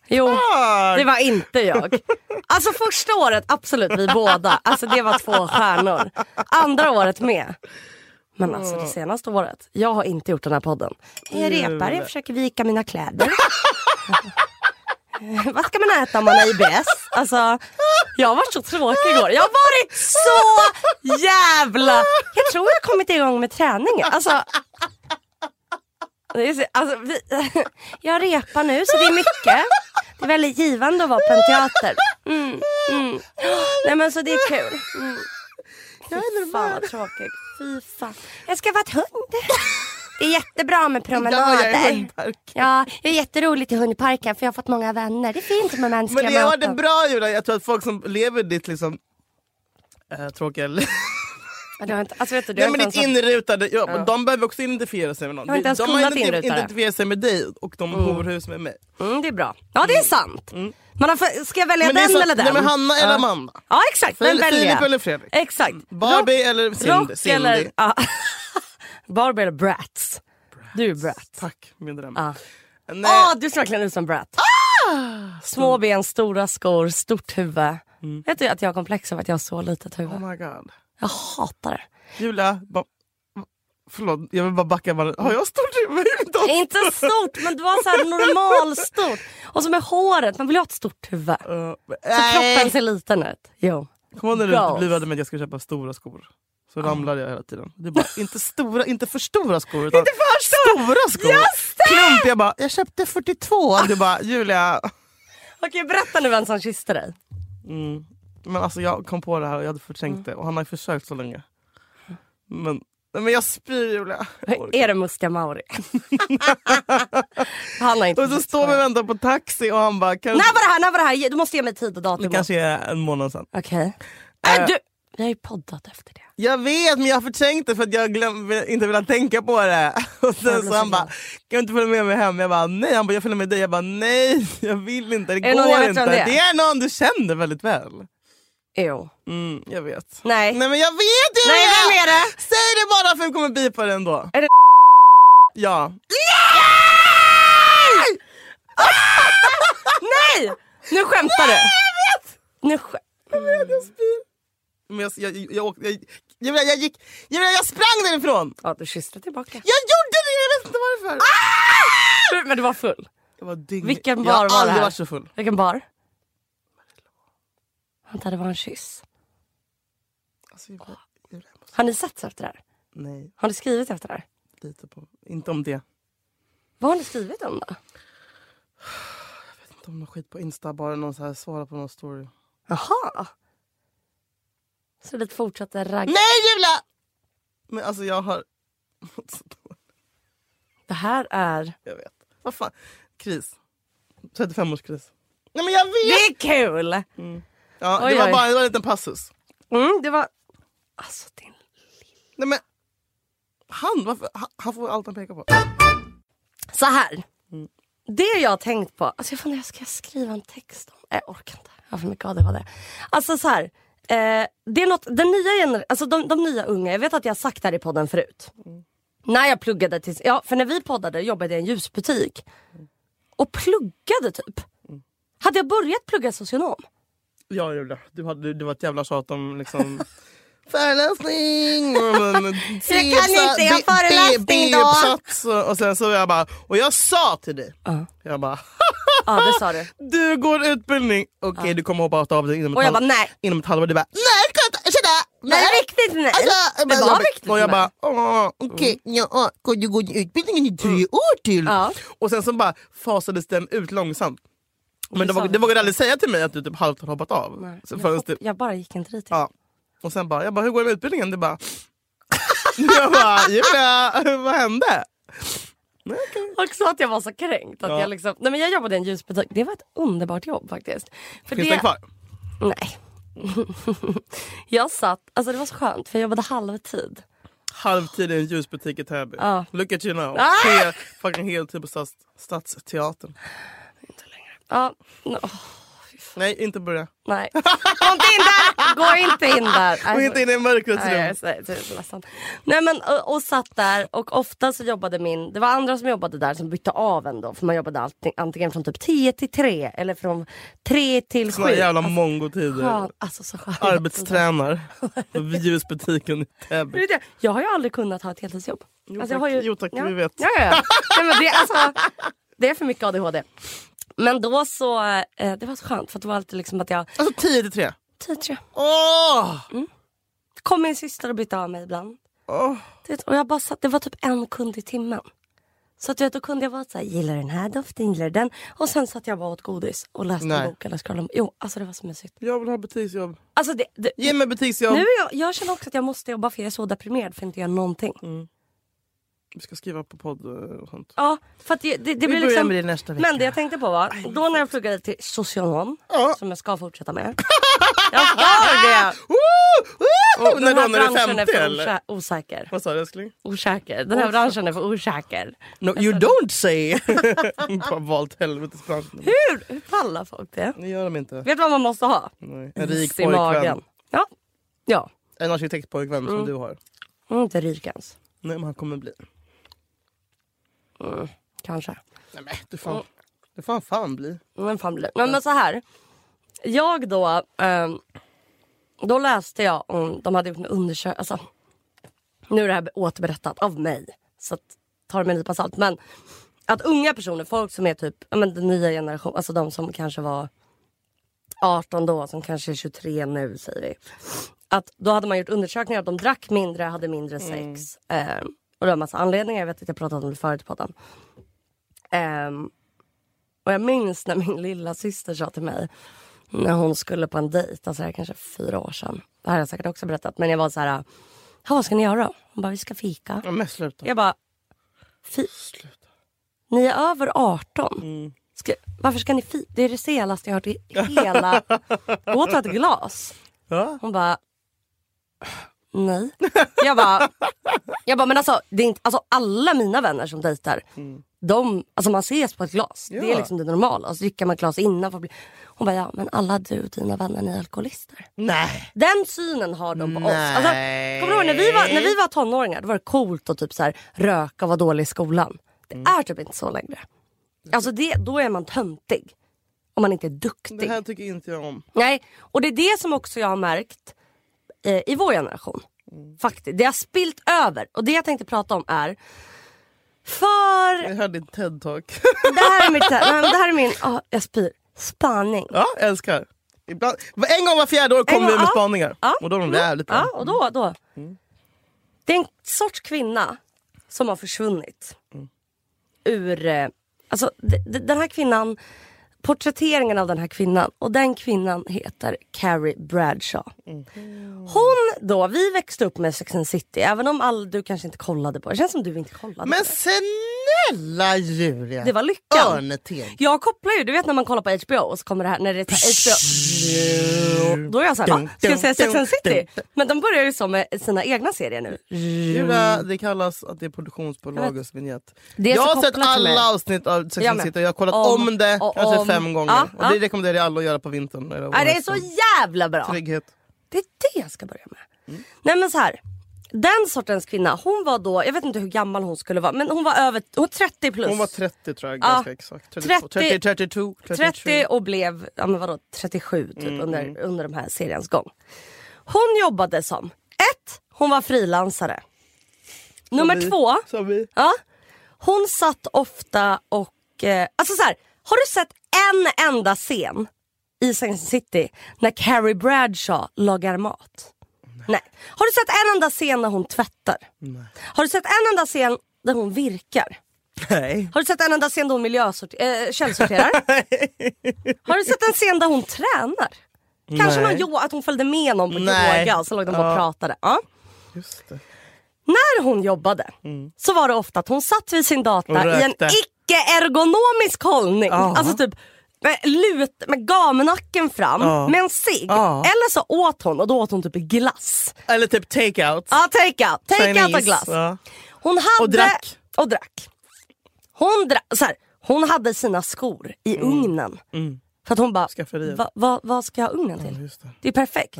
Jo,
Ah!
det var inte jag. Alltså första året, absolut vi båda. Alltså det var två stjärnor. Andra året med. Men alltså det senaste året, jag har inte gjort den här podden. Jag repar, jag försöker vika mina kläder. Vad ska man äta om man har IBS? Alltså, jag har varit så tråkig igår. Jag har varit så jävla... Jag tror jag har kommit igång med träningen. Alltså, det är så- alltså vi, jag repar nu så det är mycket. Det är väldigt givande att vara på en teater. Mm, mm. Nej men så det är kul. Mm. Fy fan vad tråkigt. Fy fan. Jag ska vara ett hund. Det är jättebra med
Ja, jag är
promenader.
hundpark.
Ja, jag är jätteroligt i hundparken för jag har fått många vänner. Det är fint med mänskliga
Men det var
möten.
det bra Julia, jag tror att folk som lever ditt liksom äh, tråkiga liv.
Ja, det har inte, alltså vet du, det
Nej
har
men
inte ens
ditt
varit-
inrutade, ja, men de behöver också identifiera sig med någon.
Jag har inte ens
de har
kunnat
identi-
inruta det.
identifierat sig med dig och de horhus med mig.
mm, det är bra. Ja, det är sant. Man har, för- ska jag välja
det är
den
så-
eller den?
Nej, Mm. men Hanna eller
Ja.
Amanda?
Ja, exakt. Den
Fil-
väljer
Filip
jag.
eller Fredrik?
Exakt.
Barbie
Rock-
eller Cindy?
Rock
Cindy.
eller... Ja. Barbie eller Bratz. Du är Bratz.
Tack min dröm.
Ja.
Nej, Ah!
Ah, du ser verkligen ut som Bratz. Små ben, stora skor, stort huvud.
Mm.
Vet du att jag har komplex av att jag har så litet huvud?
Oh my god.
Jag hatar det.
Julia, ba- förlåt jag vill bara backa. Bara. Har jag stort huvud?
Inte stort, men du har så här normalstort. Och så med håret, man vill ju ha ett stort huvud.
Uh,
Så kroppen ser liten ut. Jo.
Kommer du ihåg när
Girls.
du lurade mig att jag skulle köpa stora skor? Så ramlade jag hela tiden. Det är bara, inte, stora, inte för stora skor utan inte för stora, skor. Just Klump, jag bara, jag köpte 42. Du bara, Julia.
Okej, berätta nu vem som kysste dig.
Mm. Men alltså jag kom på det här och jag hade förträngt det och han har försökt så länge. Men, nej, men jag spyr Julia. Jag orkar
Är det Muska Mauri? Han har inte
inte. Och så står vi och väntar på taxi och han bara, kan,
När var det här? När var det här? Du måste ge mig tid och
det
datum.
kanske är en månad sen.
Okej.
Eh.
Äh, du! Vi har ju poddat efter det.
Jag vet men jag har förträngt det för att jag glöm, inte ville tänka på det. Och
Jag
sen
blir
så
så
han bara,
glad.
kan du inte följa med mig hem? Jag bara, nej. Han bara, jag följer med dig. Jag bara, nej jag vill inte. Det
det någon jag
går
vet
inte.
vem det är?
Det är någon du känner väldigt väl.
Jo.
Mm, jag vet.
Nej.
Nej men jag vet ju!
Nej, vem är det?
Säg det bara för vi kommer bipa det ändå.
Är det-
Ja.
Nej! Nu skämtar du. Jag vet! Nu skä-
Men jag, jag, jag, jag, åkte- jag, jag, jag, jag gick... Jag, jag sprang därifrån!
Ja, du kysste tillbaka.
Jag gjorde det! Jag vet inte varför.
Men du var full.
Jag var dyng...
Ah! Vilken
jag
bar var
har
det
aldrig
här?
varit så full.
Vilken bar? Vänta, det var en kyss.
Alltså, jag bara, jag bara,
Har ni sett efter det här?
nej,
Har ni skrivit efter det här?
lite på... Inte om det.
Vad har ni skrivit om då?
inte om någon skit på Insta, bara någon så här, svara på någon story.
Jaha. Så det fortsatte ragga.
Nej Julia! Men alltså jag har...
Det här är...
jag vet. Vad fan. Kris. 35-årskris. Nej men jag vet!
Det är kul!
Ja, det
Oj,
var
oj.
bara det var en liten passus.
Mm, det var... Alltså din...
Nej men... Han, varför? Han, han får allt han pekar på.
Så här.
Mm.
Det jag har tänkt på. Alltså jag funderar, ska jag skriva en text om? Nej, jag orkar inte. Jag har för mycket ADHD. Alltså så här. Eh, det är något, den nya gener- alltså de, de nya unga, jag vet att jag har sagt det här i podden förut.
Mm.
När jag pluggade till, ja för när vi poddade jobbade jag i en ljusbutik.
Mm.
Och pluggade typ. Hade jag börjat plugga socionom?
Ja Julia, du, hade, du, du var ett jävla tjat om liksom... Föreläsning! Jag
kan inte, jag har föreläsning då.
då! Och sen så jag bara, och jag sa till dig,
Ja.
jag bara
Ja det sa du.
du går utbildning. Okej, du kommer hoppa av dig inom
Och
ett,
jag
halv,
bara nej.
inom ett halvår. Du bara, nej, jag kan inte, ursäkta,
Nej, riktigt nej.
Alltså,
det
men
var
jag,
viktigt
och jag
med.
bara, "Åh, okej, ja, kan du gå utbildningen i tre år till?
Mm. Ja.
Och sen så bara fasades den ut långsamt. Men det, var, det vågade aldrig säga till mig att du typ halvt har hoppat av. Så
jag,
förrän
hopp,
typ-
jag bara gick inte dit.
Ja. Och sen bara, jag bara, hur går det med utbildningen? Du bara... jag bara, Julia, vad hände?
Också att jag var så kränkt. Att
Ja.
jag, liksom, nej men jag jobbade i en ljusbutik. Det var ett underbart jobb faktiskt. För
Finns
det-
den kvar?
Nej. jag satt, alltså det var så skönt för jag jobbade halvtid.
Halvtid i en ljusbutik i Täby.
Ja.
Look at you now.
Ah!
He, fucking heltid på stads, Stadsteatern.
Ja, nå- åh,
Nej, inte börja.
nej. Gå inte in där! Gå inte in där!
Gå inte in i mörkrets
Alltså, Nej, alltså, jag är
rum.
så- jag är så ledsen. Nej, men, och, och satt där och ofta så jobbade min, det var andra som jobbade där som bytte av en då för man jobbade allting, antingen från typ 10 till 3 eller från 3 till 7.
Såna jävla mongotider.
Skön, alltså så skönt.
Arbetstränar på ljusbutiken i
Men
Täby.
vet jag, Jag har ju aldrig kunnat ha ett heltidsjobb. Alltså, jag har
tack. Jo, tack,
ja.
vi vet.
Ja, ja, ja. Nej, men det, är alltså, det är för mycket ADHD. Men då så, eh, det var så skönt för att det var alltid liksom att jag,
Alltså 10 till 3.
tid tror jag.
Åh!
Mm. Kom min syster och bytte av mig ibland.
Åh.
Du Vet, och jag bara satt, det var typ en kund i timmen. Så att, du vet, då kunde jag vara så här, gillar den här doften, gillar den. Och sen satt jag bara åt godis och läste
Nej.
en bok eller scrollade. om- Jo, alltså det var så mysigt.
Jag vill ha butiksjobb.
Alltså det, det,
Ge mig butiksjobb.
nu är jag, jag känner också att jag måste jobba för jag är så deprimerad för att inte göra någonting.
Mm. Vi ska skriva på podd eh, och sånt.
Ja, för att det, det, det
Vi
blir
börjar
liksom...
med det nästa vecka.
Men det jag tänkte på var, då när jag pluggade till socionom,
Ja.
som jag ska fortsätta med. jag ska det!
Woo! Woo! När
Den här
då? När du är
branschen
50
för
eller?
osä- osäker.
Vad sa du älskling?
Osäker. Den här branschen är för osäker.
No, you don't say! Fan, Valt helvetesbranschen.
Hur, hur pallar folk det?
Det gör de inte.
Vet du vad man måste ha?
Nej. En
Is
rik
i magen. Mm.
pojkvän.
Ja. ja.
En arkitektpojkvän som du har.
Hon är inte rik ens.
Nej men han kommer bli.
Kanske.
Nej men du
Mm.
fan. Du fan fan bli.
Men fan blir Men, men så här. Jag då. ehm, då läste jag om, de hade gjort en undersökning. Alltså, nu är det här återberättat av mig. Så att, ta det med en nypa salt. Men att unga personer, folk som är typ ja, men, den nya generationen. Alltså de som kanske var 18 då, som kanske är 23 nu säger vi. Att då hade man gjort undersökningar att de drack mindre, hade mindre sex. ehm, och det var en massa anledningar. Jag vet att jag pratat om det förut i podden. Ehm, och jag minns när min lilla syster sa till mig när hon skulle på en dejt, alltså det här är kanske fyra år sedan. Det här har jag säkert också berättat. Men jag var så här, "Ja, vad ska ni göra? Hon bara, vi ska fika.
Ja, men sluta.
Jag bara, fi- ni är över 18. Ska, varför ska ni fika? Det är det senaste jag hört i hela... Gå och ta ett glas.
Ja.
Hon bara, nej. Jag bara, jag bara men alltså, det är inte, alltså alla mina vänner som dejtar, de, alltså man ses på ett glas. Det är
Ja.
liksom det normala. Och så dricker man ett glas innan. För att bli... Hon bara, ja men alla du och dina vänner ni är alkoholister.
Nej.
Den synen har de på oss.
Nej.
Alltså, kommer du ihåg när vi, var, när vi var tonåringar, då var det coolt att typ så här, röka och vara dålig i skolan. Det
Mm.
är typ inte så längre. Alltså det, då är man töntig. Om man inte är duktig.
Det här tycker inte jag om.
Nej, och det är det som också jag har märkt eh, i vår generation.
Mm.
Faktiskt. Det har spilt över. Och det jag tänkte prata om är för...
Jag hörde din TED-talk.
Det här är, mitt, nej, men det här är min... ah, jag spyr. Spaning.
ja, jag älskar. Ibland, en gång var fjärde år
En
kommer
gång-
vi med
ja.
spaningar.
Ja. Mm.
Och då är de jävligt bra. Mm.
Ja, och då, då. Det är en sorts kvinna som har försvunnit.
Mm.
Ur... eh, Alltså d- d- den här kvinnan, porträtteringen av den här kvinnan och den kvinnan heter Carrie Bradshaw.
Mm.
Hon då, vi växte upp med Sex and the City även om all, du kanske inte kollade på det. Det känns som du inte kollade på
Men
det.
snälla Julia!
Det var lyckan.
Örneteg.
Jag kopplar ju, du vet när man kollar på HBO och så kommer det här, när det är så här HBO. Då är jag såhär, va? Ska jag säga Sex and the City? Men de börjar ju så med sina egna serier nu.
Julia, det kallas att det är produktionsbolagets vinjett.
Mm. Det är
Jag
så
har sett
kopplat till mig.
alla avsnitt av Sex
Jag
and
med.
the City och jag har kollat
Om
om, det
och
kanske
om.
fem gånger.
Ja,
och det
ja.
rekommenderar jag alla att göra på vintern. Eller
Ja, det är så
vårhösten.
jävla bra!
Trygghet.
Det är det jag ska börja med.
Mm.
Nej men så här. Den sortens kvinna, hon var då, jag vet inte hur gammal hon skulle vara, men hon var över hon var 30 plus.
Hon var 30 tror jag,
Ja.
ganska exakt. 32,
30,
30, 32, 33.
30 och blev ja, men vadå, 37 typ,
Mm,
under, under de här seriens gång. Hon jobbade som, ett, hon var frilansare. Nummer
vi.
två,
Som vi.
ja, hon satt ofta och, eh, alltså så här, har du sett en enda scen i Sex and the City när Carrie Bradshaw lagar mat? Nej. Har du sett en enda scen när hon tvättar? Har du sett en enda scen där hon virkar?
Nej.
Har du sett en enda scen där hon miljösorter- äh, källsorterar? har du sett en scen där hon tränar? Kanske
Nej.
någon yo- att hon följde med någon på
Nej.
yoga och så låg de bara och pratade. Ja.
Just det.
När hon jobbade så var det ofta att hon satt vid sin
Mm. Och
data i en
rökte.
icke-ergonomisk hållning.
Ja.
Alltså typ med, lut, med gamnacken fram
Ja.
med en cigg.
Ja.
Eller så åt hon och då åt hon typ glass.
Eller typ take-out.
Ja, take out. Take out
Chinese.
och glass.
Ja.
Hon hade,
Och drack.
och drack. Hon, dra, så här, hon hade sina skor i
Mm.
ugnen. För att hon bara,
Skafferiet.
"Va- va- vad ska jag ha ugnen till?
Just det.
Det är perfekt.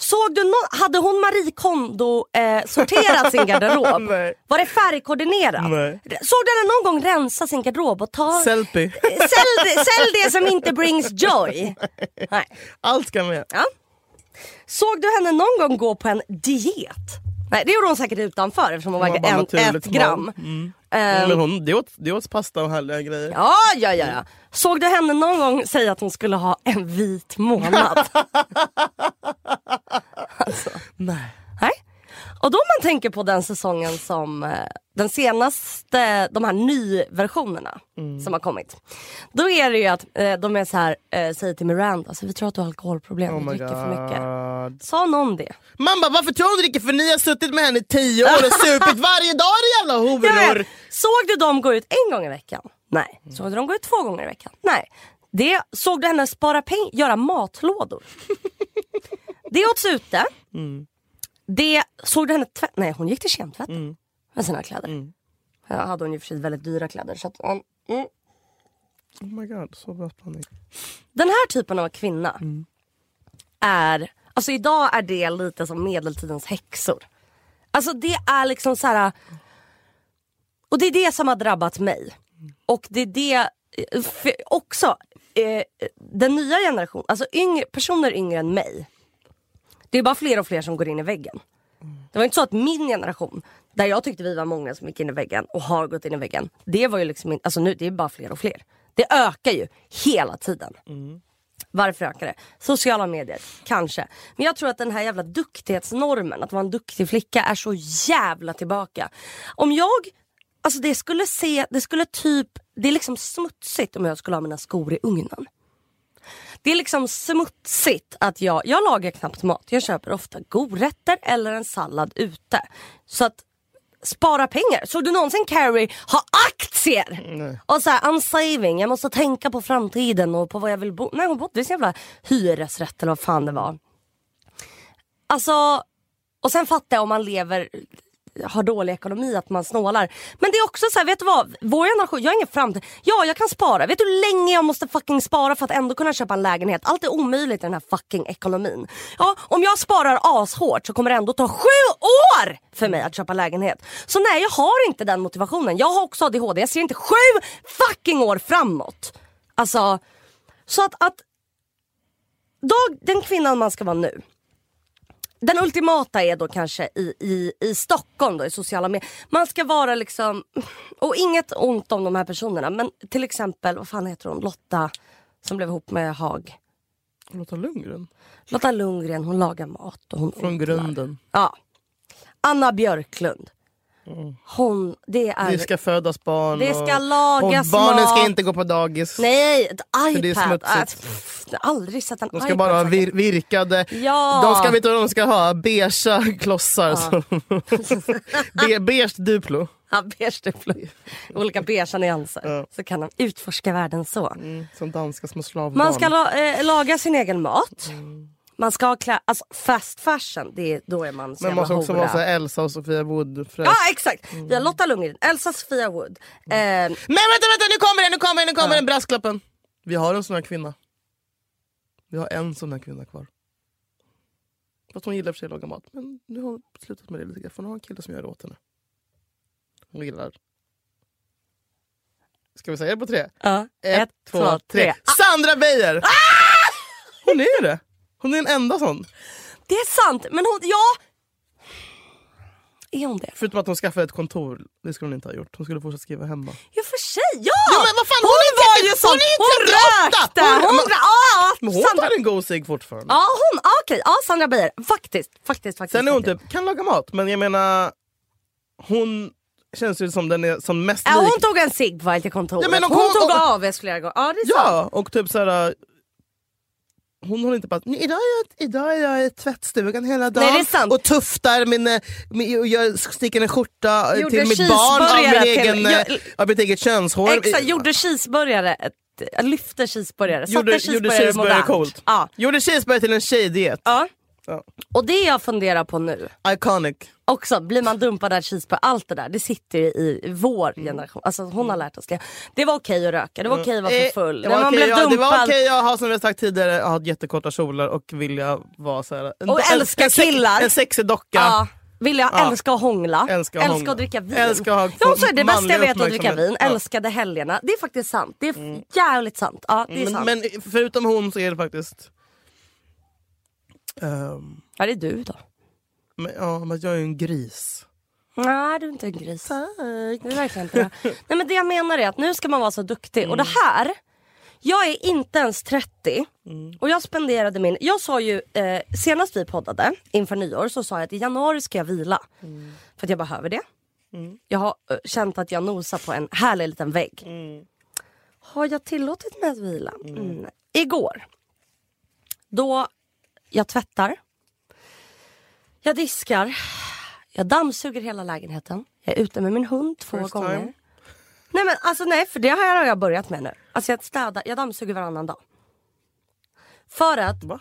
Såg du no- hade hon Marie Kondo eh, sorterat sin garderob?
Nej.
Var det färgkoordinerat?
Nej.
R- Såg du henne någon gång rensa sin garderob och ta...
Selfie.
sälj, det- sälj det som inte brings joy. Nej.
Allt ska med.
Såg du henne någon gång gå på en diet? Nej det gjorde hon säkert utanför eftersom hon
Hon var
vägde
bara
en, ett
naturligt Mm. smal.
gram. Ehm,
Men hon, det, åt, det åt pasta och härliga grejer.
Ja, ja, ja, ja. Såg du henne någon gång säga att hon skulle ha en vit månad?
Nej. Oh
Nej. Och då om man tänker på den säsongen som eh, den senaste, de här nyversionerna
Mm.
som har kommit. Då är det ju att eh, de är så här, eh, säger till Miranda, så vi tror att du har alkoholproblem,
Oh
du
my
dricker för mycket.
god.
Sa någon det?
Man bara, varför tror du hon dricker? För ni har suttit med henne i tio år och supit varje dag era jävla
Jag
horor.
vet. Såg du dem gå ut en gång i veckan? Nej. Såg du dem gå ut två gånger i veckan? Nej. Det, såg du henne spara pengar, göra matlådor? det åts ute. Det, såg du henne tvätta? Nej hon gick till kemtvätten med sina kläder. Ja, hade hon ju för sig väldigt dyra kläder. Så att hon, mm.
Oh my god, så bra spaning.
Den här typen av kvinna är, alltså idag är det lite som medeltidens häxor. Alltså det är liksom så här. och det är det som har drabbat mig. Och det är det eh, för- också, eh, den nya generationen, alltså yngre, personer yngre än mig. Det är bara fler och fler som går in i väggen. Det var inte så att min generation, där jag tyckte vi var många som gick in i väggen och har gått in i väggen. Det var ju liksom, in- alltså nu det är bara fler och fler. Det ökar ju hela tiden. Varför ökar det? Sociala medier, kanske. Men jag tror att den här jävla duktighetsnormen, att vara en duktig flicka, är så jävla tillbaka. Om jag, alltså det skulle se, det skulle typ, det är liksom smutsigt om jag skulle ha mina skor i ugnen. Det är liksom smutsigt att jag, jag lagar knappt mat. Jag köper ofta godrätter eller en sallad ute. Så att spara pengar. Såg du någonsin Carrie ha aktier? Och så här, I'm saving, jag måste tänka på framtiden och på vad jag vill bo. Nej hon bodde i sin jävla hyresrätt eller vad fan det var. Alltså, och sen fattar jag om man lever har dålig ekonomi att man snålar. Men det är också så här, vet du vad? Vår generation, jag har ingen framtid. Ja, jag kan spara. Vet du hur länge jag måste fucking spara för att ändå kunna köpa en lägenhet? Allt är omöjligt i den här fucking ekonomin. Ja, om jag sparar ashårt så kommer det ändå ta sju år för mig att köpa lägenhet. Så nej, jag har inte den motivationen. Jag har också ADHD. Jag ser inte sju fucking år framåt. Alltså, så att, att dag, den kvinnan man ska vara nu. Den ultimata är då kanske i, i, i Stockholm då, i sociala medier. Man ska vara liksom, och inget ont om de här personerna men till exempel, vad fan heter hon, Lotta som blev ihop med Haag.
Lotta Lundgren.
Lotta Lundgren, hon lagar mat och hon
Från
odlar.
grunden.
Ja. Anna Björklund. Hon, det är...
Mm. Det ska födas barn.
Det ska
och,
lagas
och barnen ska
mat.
inte gå på dagis.
Nej, ett iPad.
För det är smutsigt.
Ah, pff, jag har aldrig sett en
De ska
iPad.
bara ha
säkert.
vir- virkade.
Ja.
De ska, vet du vad de ska ha? Beigea klossar. som- Be- beige Duplo.
Ja, beige duplo. Olika beigea nyanser. Så kan de utforska världen så.
Mm. Som danska små slavbarn.
Man ska la, eh, laga sin egen mat.
Mm.
Man ska ha klä, alltså fast fashion, det är, då är man så
Men
jävla
måste också
hora.
vara så här Mm. Elsa och Sofia Wood. fräsch.
Ja exakt! Vi har Lotta Lundgren, Elsa Sofia Wood. Eh,
Men vänta, vänta, nu kommer den, nu kommer den, nu kommer den, brasklappen. Vi har en sån här kvinna. Vi har en sån här kvinna kvar. Fast hon gillar i och för sig att laga mat. Men nu har hon slutat med det lite grann. För hon har en kille som gör det åt henne. Hon gillar... Ska vi säga det på tre?
ja. Ett, två, tre. Ah,
Sandra Beijer! Hon är det. Hon är en enda sån.
Det är sant, men hon, ja. Är hon det?
Förutom att hon skaffade ett kontor. Det skulle hon inte ha gjort. Hon skulle fortsätta skriva hemma.
Ja för sig, ja!
Ja, men vad fan,
hon,
hon är
var
inte-
ju sån,
hon är inte
hon
38!
rökte!
Hon-
Hon,
men-
ja,
Men hon
Sandra,
tar en god cigg fortfarande.
ja hon, ja, okej, ja Sandra Beijer. Faktiskt, faktiskt, faktiskt.
Sen är hon
faktiskt.
typ, kan laga mat. Men jag menar, hon känns ju som den är som mest
Ja,
lik.
hon tog en cigg på väg till kontoret.
Ja, men
hon,
och hon-
tog
och-
AWs flera gånger. Ja, det är sant.
Ja, och typ såhär... Hon håller inte på att "Nej, idag är, jag, idag är jag i tvättstugan hela dagen
Nej, det är sant.
och tuftar min, eh, min, och jag sticker en skjorta eh,
Gjorde
till mitt barn
cheeseburgare
av, min egen,
till-
eh,
jag-
av mitt eget könshår.
Exakt, gjorde cheeseburgare, ett- jag lyfte cheeseburgare,
Gjorde-
satte
gjorde
cheeseburgare
cheeseburgare
modernt.
coolt.
Ja.
Gjorde cheeseburgare till en tjejdiet.
Ja.
Ja.
Och det jag funderar på nu
Iconic.
också, blir man dumpad av cheeseburgare, allt det där det sitter ju i vår
Mm.
generation. Alltså hon har lärt oss det. Det var okej att röka, det var okej att vara för
Eh,
full.
Det
När
var
man
okej
blev
jag- det var
dumpad.
okej jag har som jag sagt tidigare ha jättekorta kjolar och vilja vara såhär... En,
Och
en-
älska
en sex-
killar.
En sexig docka.
Ja. Vill jag
Ja.
älska att hångla,
Älska att hångla.
att dricka vin.
Älska att ha
ja, hon sa ju det bästa
manlig
jag vet är att dricka
uppmärksamhet.
vin.
Ja. Mm.
Älskade helgerna. Det är faktiskt sant. Det är jävligt sant. Ja, det är sant.
Men, men förutom hon så är det faktiskt... Ehm,
ja, det är du då.
men, ja, men jag är ju en gris.
Nej, du är inte en gris. Det är verkligen inte det. Nej, men det jag menar är att nu ska man vara så duktig. Och det här, jag är inte ens 30. Och jag spenderade min... Jag sa ju, eh, senast vi poddade inför nyår så sa jag att i januari ska jag vila. För att jag behöver det. Jag har eh, känt att jag nosar på en härlig liten vägg.
Mm.
Har jag tillåtit mig att vila? Mm. Igår, då jag tvättar, jag diskar, jag dammsuger hela lägenheten. Jag är ute med min hund två
First
gånger.
time.
Nej men alltså nej för det har jag börjat med nu. Alltså jag städar, jag dammsuger varannan dag. För att,
Va?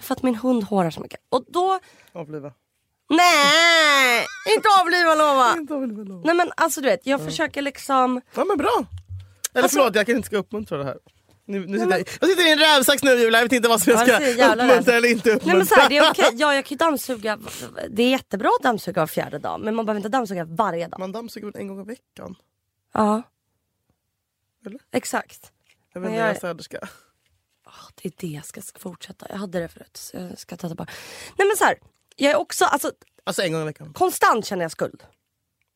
för att min hund hårar så mycket. Och då,
Avliva.
nej! Inte avliva lova!
Inte avliva lov.
Nej men alltså du vet, jag försöker liksom...
Ja men bra. Eller
Alltså-
förlåt, jag kan inte ska uppmuntra det här. Nu, nu sitter, jag- jag sitter i en rävsax nu Julia, jag vet inte vad som jag
Ja,
ska
det ser jävla
uppmuntra
räv.
eller inte uppmuntra.
Nej men så här, det är okej, ja jag kan ju dammsuga, det är jättebra att dammsuga var fjärde dag men man behöver inte dammsuga varje dag.
Man dammsuger väl en gång i veckan?
Ja.
Eller?
Exakt.
Jag vet
Men
inte, jag
jag-
är städerska.
Ja, Det är det jag ska fortsätta, jag hade det förut så jag ska ta tillbaka. Nej men så här, jag är också, alltså
Alltså en gång i veckan.
konstant känner jag skuld.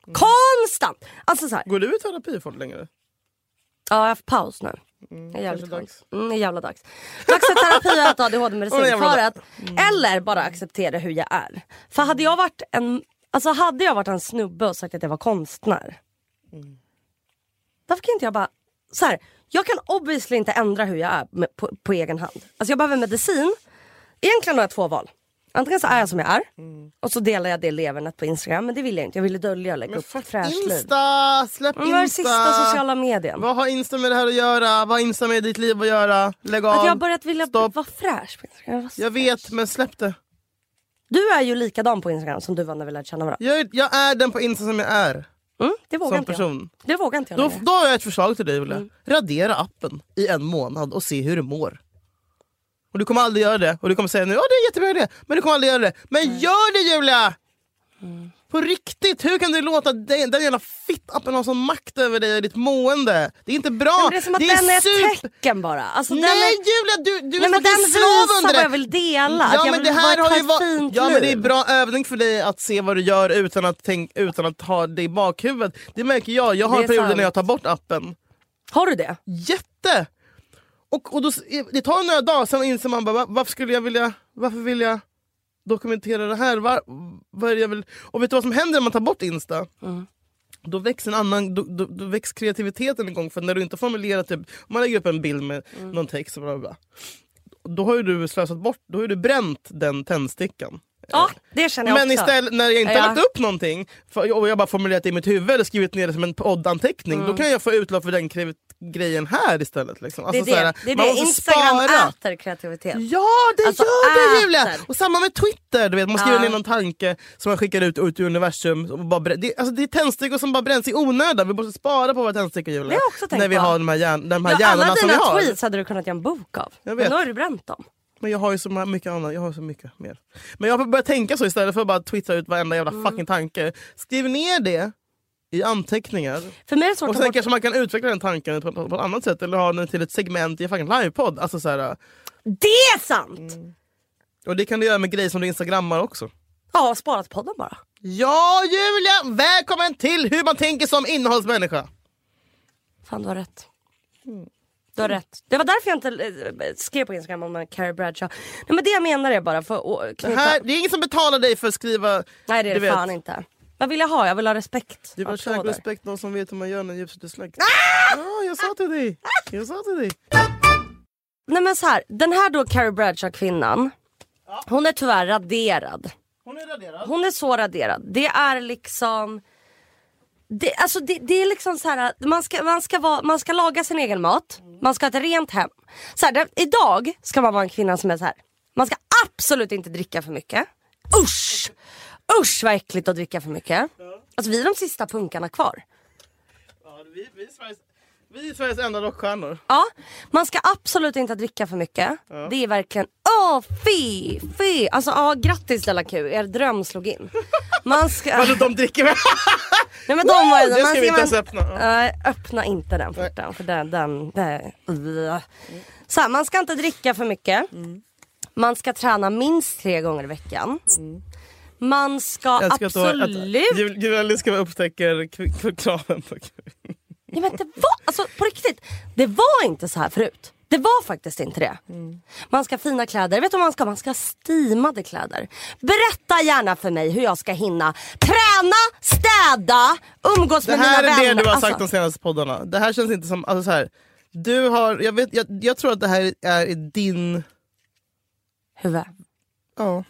Mm. Konstant! Alltså så här,
Går du i terapi för längre?
ja jag har haft paus nu. Mm, jävligt
kanske
dags. Mm, det är jävla dags. Dags för terapi och att
Och det
ADHD-medicin.
är jävla Mm.
För
dags.
att, eller bara acceptera hur jag är. För hade jag varit en, alltså hade jag varit en snubbe och sagt att jag var konstnär.
Mm.
Varför kan inte jag bara, så här, jag kan obviously inte ändra hur jag är med, på, på egen hand. Alltså jag behöver medicin. Egentligen har jag två val. Antingen så är jag som jag är
Mm.
och så delar jag det levernet på Instagram. Men det vill jag inte. Jag ville dölja och lägga upp
Fuck
fräscht liv.
Insta! Släpp
Men Vad är det
Insta!
sista sociala medien?
Vad har Insta med det här att göra? Vad har Insta med ditt liv att göra? Lägg av!
Att jag har börjat vilja
Stopp.
vara fräsch på Instagram. Vad
Jag vet, men släpp det.
Du är ju likadan på Instagram som du var när vi lärde känna varandra.
Jag, är- jag är den på Insta som jag är.
Mm, det vågar
Som
inte
person.
jag. Det vågar inte jag
Då,
längre.
då har jag ett förslag till dig Julia.
Mm.
Radera appen i en månad och se hur du mår. Och du kommer aldrig göra det. Och du kommer säga nu, ja det är en jättebra idé. Men du kommer aldrig göra det. Men gör det Julia!
Mm.
På riktigt, hur kan du låta den, den jävla fittappen ha sån makt över dig och ditt mående? Ah, Det är inte bra.
Men det är som att den är ett tecken bara. Alltså, den
Nej
är...
Julia, du, du
Nej,
är
men
men
den
slav
visar
under
vad
det.
jag vill dela. att
Ja,
jag
men
vill
det här
ha ett
har ju varit...
fint
Ja, men det är
liv.
bra övning för dig att se vad du gör utan att, tänk, utan att ha det i bakhuvudet. Det märker jag. Jag
Det
har
är
perioder
sant.
när jag tar bort appen.
Har du det?
Jätte! Och, och då, det tar några dagar, sen inser man bara, "Va- varför skulle jag vilja... Varför vill jag dokumentera det här? Var, vad är det jag vill? Och vet du vad som händer när man tar bort Insta? Då väcks, en annan, då, då, då väcks kreativiteten igång. För när du inte formulerar, typ, om man lägger upp en bild med någon text och bla bla, bla då har ju du slösat bort, då har ju du bränt den tändstickan.
Ja, det känner jag
Men
också.
istället när jag inte
Ja.
har lagt upp någonting för, och jag bara formulerat det i mitt huvud eller skrivit ner det som en poddanteckning, då kan jag få utlopp för den kre- grejen här istället. Liksom.
Mm. det är
Alltså,
det.
så här,
det,
man
är det.
måste
Instagram
spara.
äter kreativitet.
Ja, det
Alltså,
gör det
äter.
Julia! Och samma med Twitter, du vet, man skriver
Ja.
ner någon tanke som man skickar ut, ut i universum. Och bara brä- det, alltså, det är tändstickor som bara bränns i onödan, vi måste spara på våra tändstickor Julia.
Det har jag också tänkt
när vi
på.
har de här, hjärn- de här
Ja, alla
hjärnorna som vi
dina
har.
tweets hade du kunnat göra en bok av.
Jag
Men
vet.
nu har du bränt dem.
Men jag har ju så ma- mycket annat. Jag har så mycket mer. Men jag har börjat tänka så istället för att bara twittra ut varenda jävla fucking tanke. Skriv ner det i anteckningar.
För mig är det svårt
Och
att
sen
ta
kanske man kan utveckla den tanken på, på, på ett annat sätt. Eller ha den till ett segment i en fucking livepodd. Alltså så här,
Det är sant!
Mm. och det kan du göra med grejer som du instagrammar också.
Ja, sparat podden bara.
Ja, Julia! Välkommen till Hur man tänker som innehållsmänniska.
Fan, du har rätt.
Mm.
Du har rätt. Det var därför jag inte eh, skrev på Instagram om Carrie Bradshaw. Nej, men det jag menar är bara för att
Det,
knyta...
här, det är ingen som betalar dig för att skriva...
Nej, det är
du
det fan inte. Vad vill jag ha? Jag vill ha respekt.
Du
av
bara kärlek
applåder.
respekt, någon som vet hur man gör när ljuset är släckt. Ja, jag sa till dig. Jag sa till dig.
Nej men så här, den här då Carrie Bradshaw kvinnan. Hon är tyvärr raderad.
Hon är raderad.
Hon är så raderad. Det är liksom... Det, alltså det, det är liksom så här, man ska, man, ska vara, man ska laga sin egen mat, man ska ha ett rent hem. Så här, det, idag ska man vara en kvinna som är så här. man ska absolut inte dricka för mycket. Usch! Usch vad äckligt att dricka för mycket. Alltså vi är de sista punkarna kvar.
Ja, vi, vi, är Sveriges, vi är Sveriges enda rockstjärnor.
Ja, man ska absolut inte dricka för mycket. Det är verkligen, åh fy, fy. Alltså ja, grattis Della Q, er dröm slog in. Man ska...
Vadå, de dricker väl?
Nej men de var ju...
Det ska
man
vi inte
man-
ens öppna.
Nej, öppna inte den porten för den... den, den uh. Så här, man ska inte dricka för mycket.
Mm.
Man ska träna minst tre gånger i veckan. Man ska
Mm. Jag älskar att du har- att-
absolut...
Jul- Julia älskar att upptäcker k- k- kraven på kvinnor.
Ja, men det var, alltså, på riktigt, det var inte så här förut. Det var faktiskt inte det. Man ska ha fina kläder. Vet du vad man ska ha? Man ska ha steamade kläder. Berätta gärna för mig hur jag ska hinna träna, städa, umgås
Det
med mina
här
vänner.
är det du har
Alltså,
sagt de senaste poddarna. Det här känns inte som... Alltså så här, du har, jag, vet, jag, jag tror att det här är i din...
huvud.
Ja.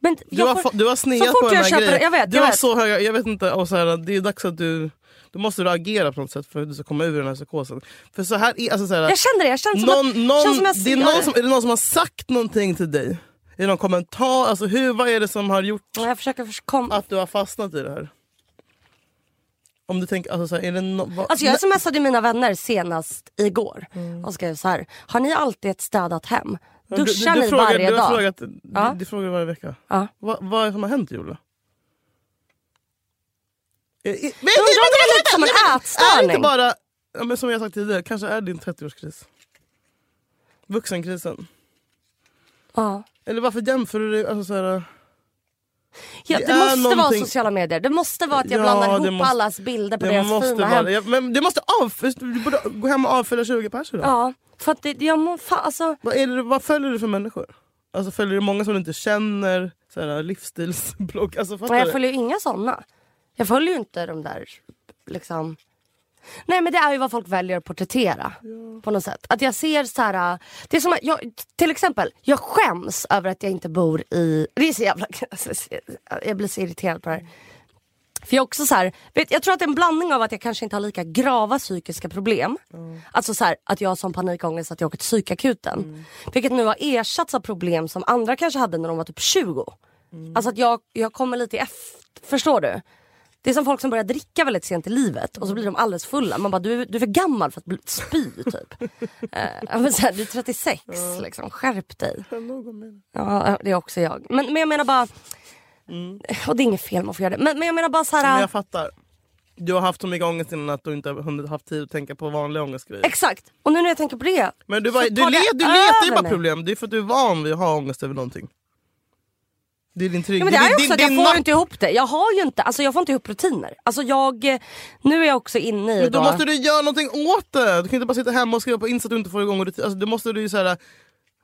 Men
Du,
jag
har,
får-
fa- du har sneat
fort
på den
jag
här
köper-
grejen.
jag vet,
du
jag
har
vet.
så höga... Jag vet inte. Och så här, det är dags att du... Då måste du agera på något sätt för att du ska komma ur den här psykosen. För så här är... Alltså så här,
Jag känner det. Jag känner som att,
någon,
känns
någon,
som jag
det är,
ser
någon som, är det någon som har sagt någonting till dig? Är det någon kommentar? Alltså hur, vad är det som har gjort
Ja, Jag försöker förs- kom...
att du har fastnat i det här? Om du tänker, alltså, så här, är det no, vad-
Alltså jag smsade mina vänner senast igår och skrev så här. Har ni alltid ett städat hem?
Mm. Du- du-
Duschar
du
ni
frågar-
varje
du har
dag?
Frågat,
Ja.
du, du frågar varje vecka.
Ja.
Va, vad är det som har hänt Julia? Eh, i- Men,
Jag undrar om det var lite som en
Är det inte
ätstörning.
bara, ja, men som jag sagt tidigare, kanske är din 30-årskris? Vuxenkrisen.
Ja.
Eller varför jämför du dig? Alltså, så här,
Ja,
Det
det,
är
måste vara
någonting-
sociala medier. Det måste vara att
Ja,
jag
det
blandar ihop
måste-
allas bilder på
det
deras
måste
fina
vara,
hem.
det. Ja, men du måste av, du borde gå hem och avfölja 20 pers idag.
Ja, för att det, jag må, fan, alltså,
Vad, är det, vad följer du för människor? Alltså, följer du många som du inte känner? Så här, livsstilsblogg? Alltså, fattar
nej, jag
du?
följer ju inga sådana. Jag följer ju inte de där liksom. Nej men det är ju vad folk väljer att porträttera. På något sätt. Att jag ser så här. äh, Det är som att jag, till exempel, jag skäms över att jag inte bor i... Det är så jävla... alltså, Jag blir så irriterad på det här. För jag är också så här, vet, jag tror att det är en blandning av att jag kanske inte har lika grava psykiska problem.
Mm.
Alltså så här, att jag har sån panikångest att jag åker till psykakuten.
Mm.
Vilket nu har ersatts av problem som andra kanske hade när de var typ 20.
Mm.
Alltså att jag, jag kommer lite efter, förstår du? Det är som folk som börjar dricka väldigt sent i livet och så blir de alldeles fulla. Man bara, du, du är för gammal för att bli- spy typ. eh, ja, men så här, du är 36 liksom, skärp dig. Ja, det är också jag. Men, men jag menar bara, och det är inget fel man får göra det. Men, men jag menar bara så här.
Mm. Men jag fattar. Du har haft så mycket ångest innan att du inte har hunnit haft tid att tänka på vanliga ångestgrejer.
Exakt! Och nu när jag tänker på det.
Men du, bara,
så
du,
tar det
le, du letar ju
över
bara
mig.
problem. Det är för att du är van vid att ha ångest över någonting. Det är din trygghet.
Ja, men det är ju också att jag
din
får
makt.
inte ihop det. Jag har ju inte, alltså jag får inte ihop rutiner. Alltså jag, eh, nu är jag också inne i
Men då
då-
måste du göra någonting åt det. Du kan inte bara sitta hemma och skriva på Insta att du inte får igång rutin. Alltså, du måste du ju såhär...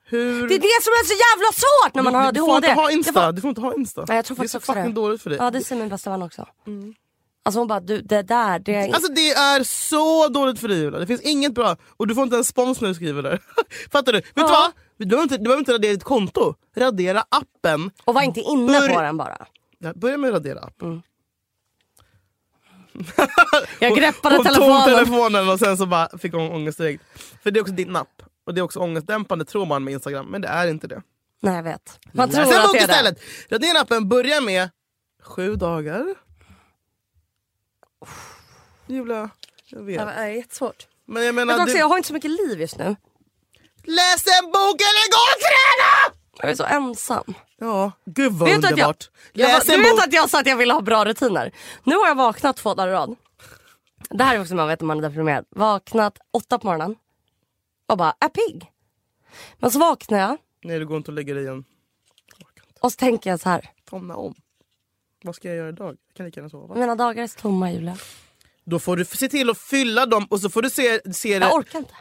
Hur...
Det är det som är så jävla svårt när man har
du, du får
ADHD.
inte ha Insta.
Jag får-
Du får inte ha Insta.
Nej, jag tror
det är
faktiskt
så
också
fucking
det.
dåligt för dig. Mm.
Ja det säger min bästa vän också. Alltså hon bara, du det där, det är...
Alltså det är så dåligt för dig Julia. Det finns inget bra. Och du får inte en spons när du skriver där. Fattar du? Vet du vad? Du behöver, inte, du behöver inte radera ditt konto. Radera appen.
och var inte inne
Bör-
på den bara.
Ja, Börja med att radera appen.
Mm. Jag greppade
hon
telefonen.
tog telefonen och sen så bara fick hon ångest direkt. För det är också din app. Och det är också ångestdämpande tror man med Instagram. Men det är inte det.
Nej jag vet. Man tror
Läs en
att
bok
det är det.
istället. Radera appen. Börja med sju dagar. Julia, jag
Ja,
vet.
Det är jättesvårt.
Men jag
Men
menar,
också,
du,
jag har inte så mycket liv just nu.
läs en bok eller gå och träna!
Jag är så ensam.
Ja, gud vad
Vet du att jag-
underbart.
Jag
Läs
bara,
en
du
bok.
vet att jag sa att jag ville ha bra rutiner. Nu har jag vaknat två dagar i rad. Det här är också man vet om man är deprimerad. Vaknat åtta på morgonen och bara är pigg. Men så vaknar jag
Nej, du går inte och lägger dig igen. Jag orkar inte.
Och så tänker jag så här.
Somna om. Vad ska jag göra idag? Jag kan lika gärna sova.
Mina dagar är så tomma Julia.
Då får du se till att fylla dem och så får du se, se det.
Jag orkar inte.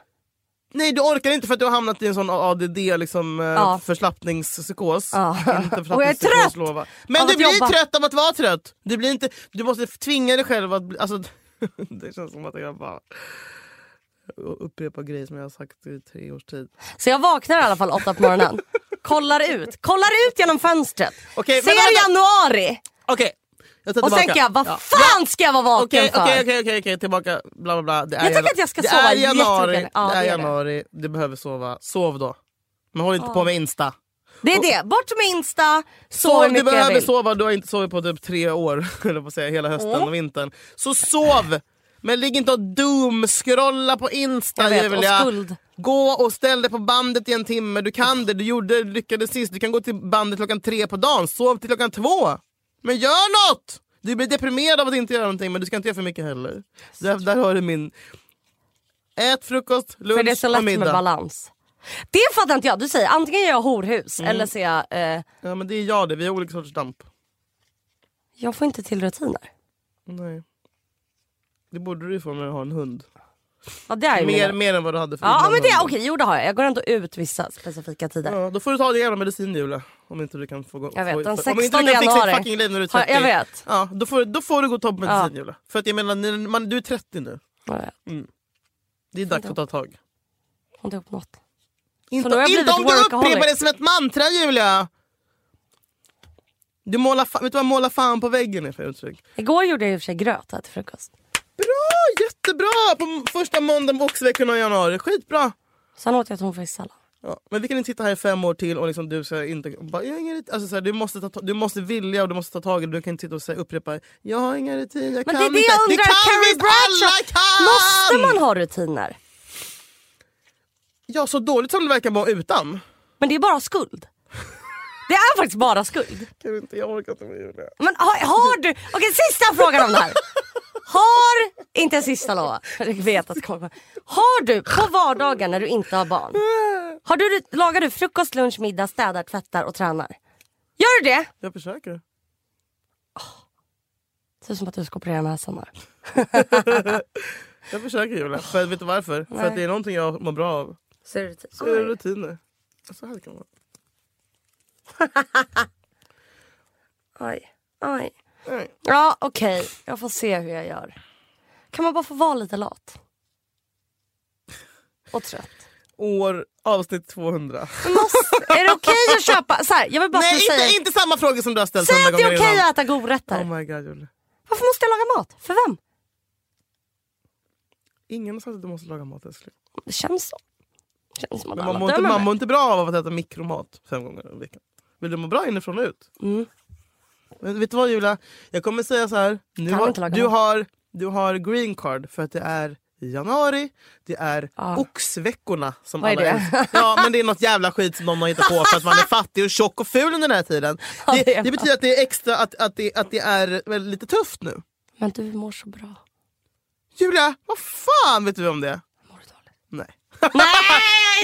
Nej du orkar inte för att du har hamnat i en sån ADD liksom,
Ja.
ja. förslappningspsykos.
Ja.
Inte
Och jag är
förslappningspsykos,
trött
lova. Men
av
du
att
blir
jobba.
trött av att vara trött. Du, blir inte, du måste tvinga dig själv att... bli- Alltså, det känns som att jag bara upprepar grejer som jag har sagt i tre års tid.
Så jag vaknar i alla fall åtta på morgonen. kollar ut. Kollar ut genom fönstret.
Okej, men
Ser
vänta.
januari.
Okej, jag tar
Och
tillbaka.
tänker jag, vad
Ja.
fan ska jag vara vaken
Okej,
för?
okej, okej, okej, okej, tillbaka. Bla, bla, bla. Det är
Jag tycker
janu-
att jag ska
det
sova
Är januari.
jättemycket. Ja,
det är
det gör det.
januari, du behöver sova. Sov då. Men håll inte på med Insta.
Det är det. Bort med Insta. Sov hur
Sov, du
mycket jag
behöver
vill.
sova, du har inte sovit på typ tre år. höll jag på att säga, hela hösten
Mm.
och vintern. Så sov! Men ligg inte och doom-scrolla på Insta
Jag vet, och
Julia.
skuld.
Gå och ställ dig på bandet i en timme. Du kan det, du gjorde, du lyckades sist. Du kan gå till bandet klockan tre på dagen. Sov till klockan två. Men gör något! Du blir deprimerad av att inte göra någonting men du ska inte göra för mycket heller. Där, där har du min... Ät frukost, lunch
För det är så lätt
och
med
middag.
balans. Det fattar inte jag. Du säger antingen gör jag horhus
Mm.
eller så är jag... Eh,
ja, men det är jag det, vi har olika sorters damp.
jag får inte till rutiner.
Nej. Det borde du ju få när du har en hund.
Ja, det är ju
Mer,
mina-
mer än vad du hade för
Ja
innan
men det,
hunden.
okej jo det har jag. Jag går ändå ut vissa specifika tider.
Ja, då får du ta din jävla medicin Julia. Om inte du kan få gå.
Jag vet,
få,
den
om inte
16
du kan fixa
januari.
ditt fucking liv när du är
Ja,
30.
jag vet.
Ja, då, får, då får du gå och ta medicin
Ja.
Julia. För att jag menar, när- man, du är 30 nu.
Jag vet.
Det är dags att ta tag.
Får inte ihop något.
Inte,
nu har jag
inte
blivit
om du
workaholic.
upprepar det som ett mantra Julia! Du målar, fa- vet du vad måla fan på väggen är för uttryck?
Igår gjorde jag i och för sig gröt här till frukost.
Bra! Jättebra! På m- första måndagen på oxveckorna i januari. Skitbra!
Sen åt jag tonfisksallad.
Ja, men vi kan inte sitta här i fem år till och liksom du ska inte... Bara, jag har inga, rut- alltså, så här, du, måste ta, ta- du måste vilja och du måste ta tag i det. Du kan inte sitta och säga, upprepa jag har inga rutiner, jag
Men
kan
det är det
inte.
jag undrar,
kan
Carrie
visst, alla
Bradshaw.
kan!
Måste man ha rutiner?
Ja, så dåligt som det verkar vara utan.
Men det är bara skuld. Det är faktiskt bara skuld.
Kan inte, jag orkar inte med Julia.
Men har, har du... Okej sista frågan om det här. Har, inte en sista lova, jag vet att det kommer. Har du på vardagar när du inte har barn, har du, lagar du frukost, lunch, middag, städar, tvättar och tränar? Gör du det?
Jag försöker.
Det ser ut som att du ska operera näsan här.
Jag försöker Julia. För, vet du varför? För att det är någonting jag mår bra av.
Så är det tid.
Så är det rutiner. Så här kan man.
Aj, aj.
Nej.
Ja okej, jag får se hur jag gör. Kan man bara få vara lite lat? Och trött.
År, avsnitt 200.
Måste, är det okej att köpa? Så här, jag vill bara
Nej,
att du
inte,
säger.
inte samma frågor som du har ställt
Säg
hundra
att det är
gånger
okej
innan.
att äta godrätter.
Oh my god Julia.
Varför måste jag laga mat? För vem?
Ingen har sagt att du måste laga mat älskling.
Det känns så. Det känns som att
Men
alla
man mår, inte,
dömer
man
mig.
mår inte bra av att äta mikromat fem gånger i veckan. Vill du må bra inifrån och ut?
Mm.
Men vet du vad Julia? Jag kommer säga så här. Nu
Kan inte
har,
laga
du,
mat.
har, du har green card för att det är i januari. Det är
Ah.
oxveckorna. Som
Vad är
alla
det?
älskar. Ja men det är något jävla skit som någon har hittat på för att man är fattig och tjock och ful under den här tiden.
det
Det,
är
det betyder att det är extra att, att, det, att det är väl lite tufft nu.
Men du mår så bra.
Julia, vad fan vet du om det?
Mår du dåligt?
Nej.
Nej!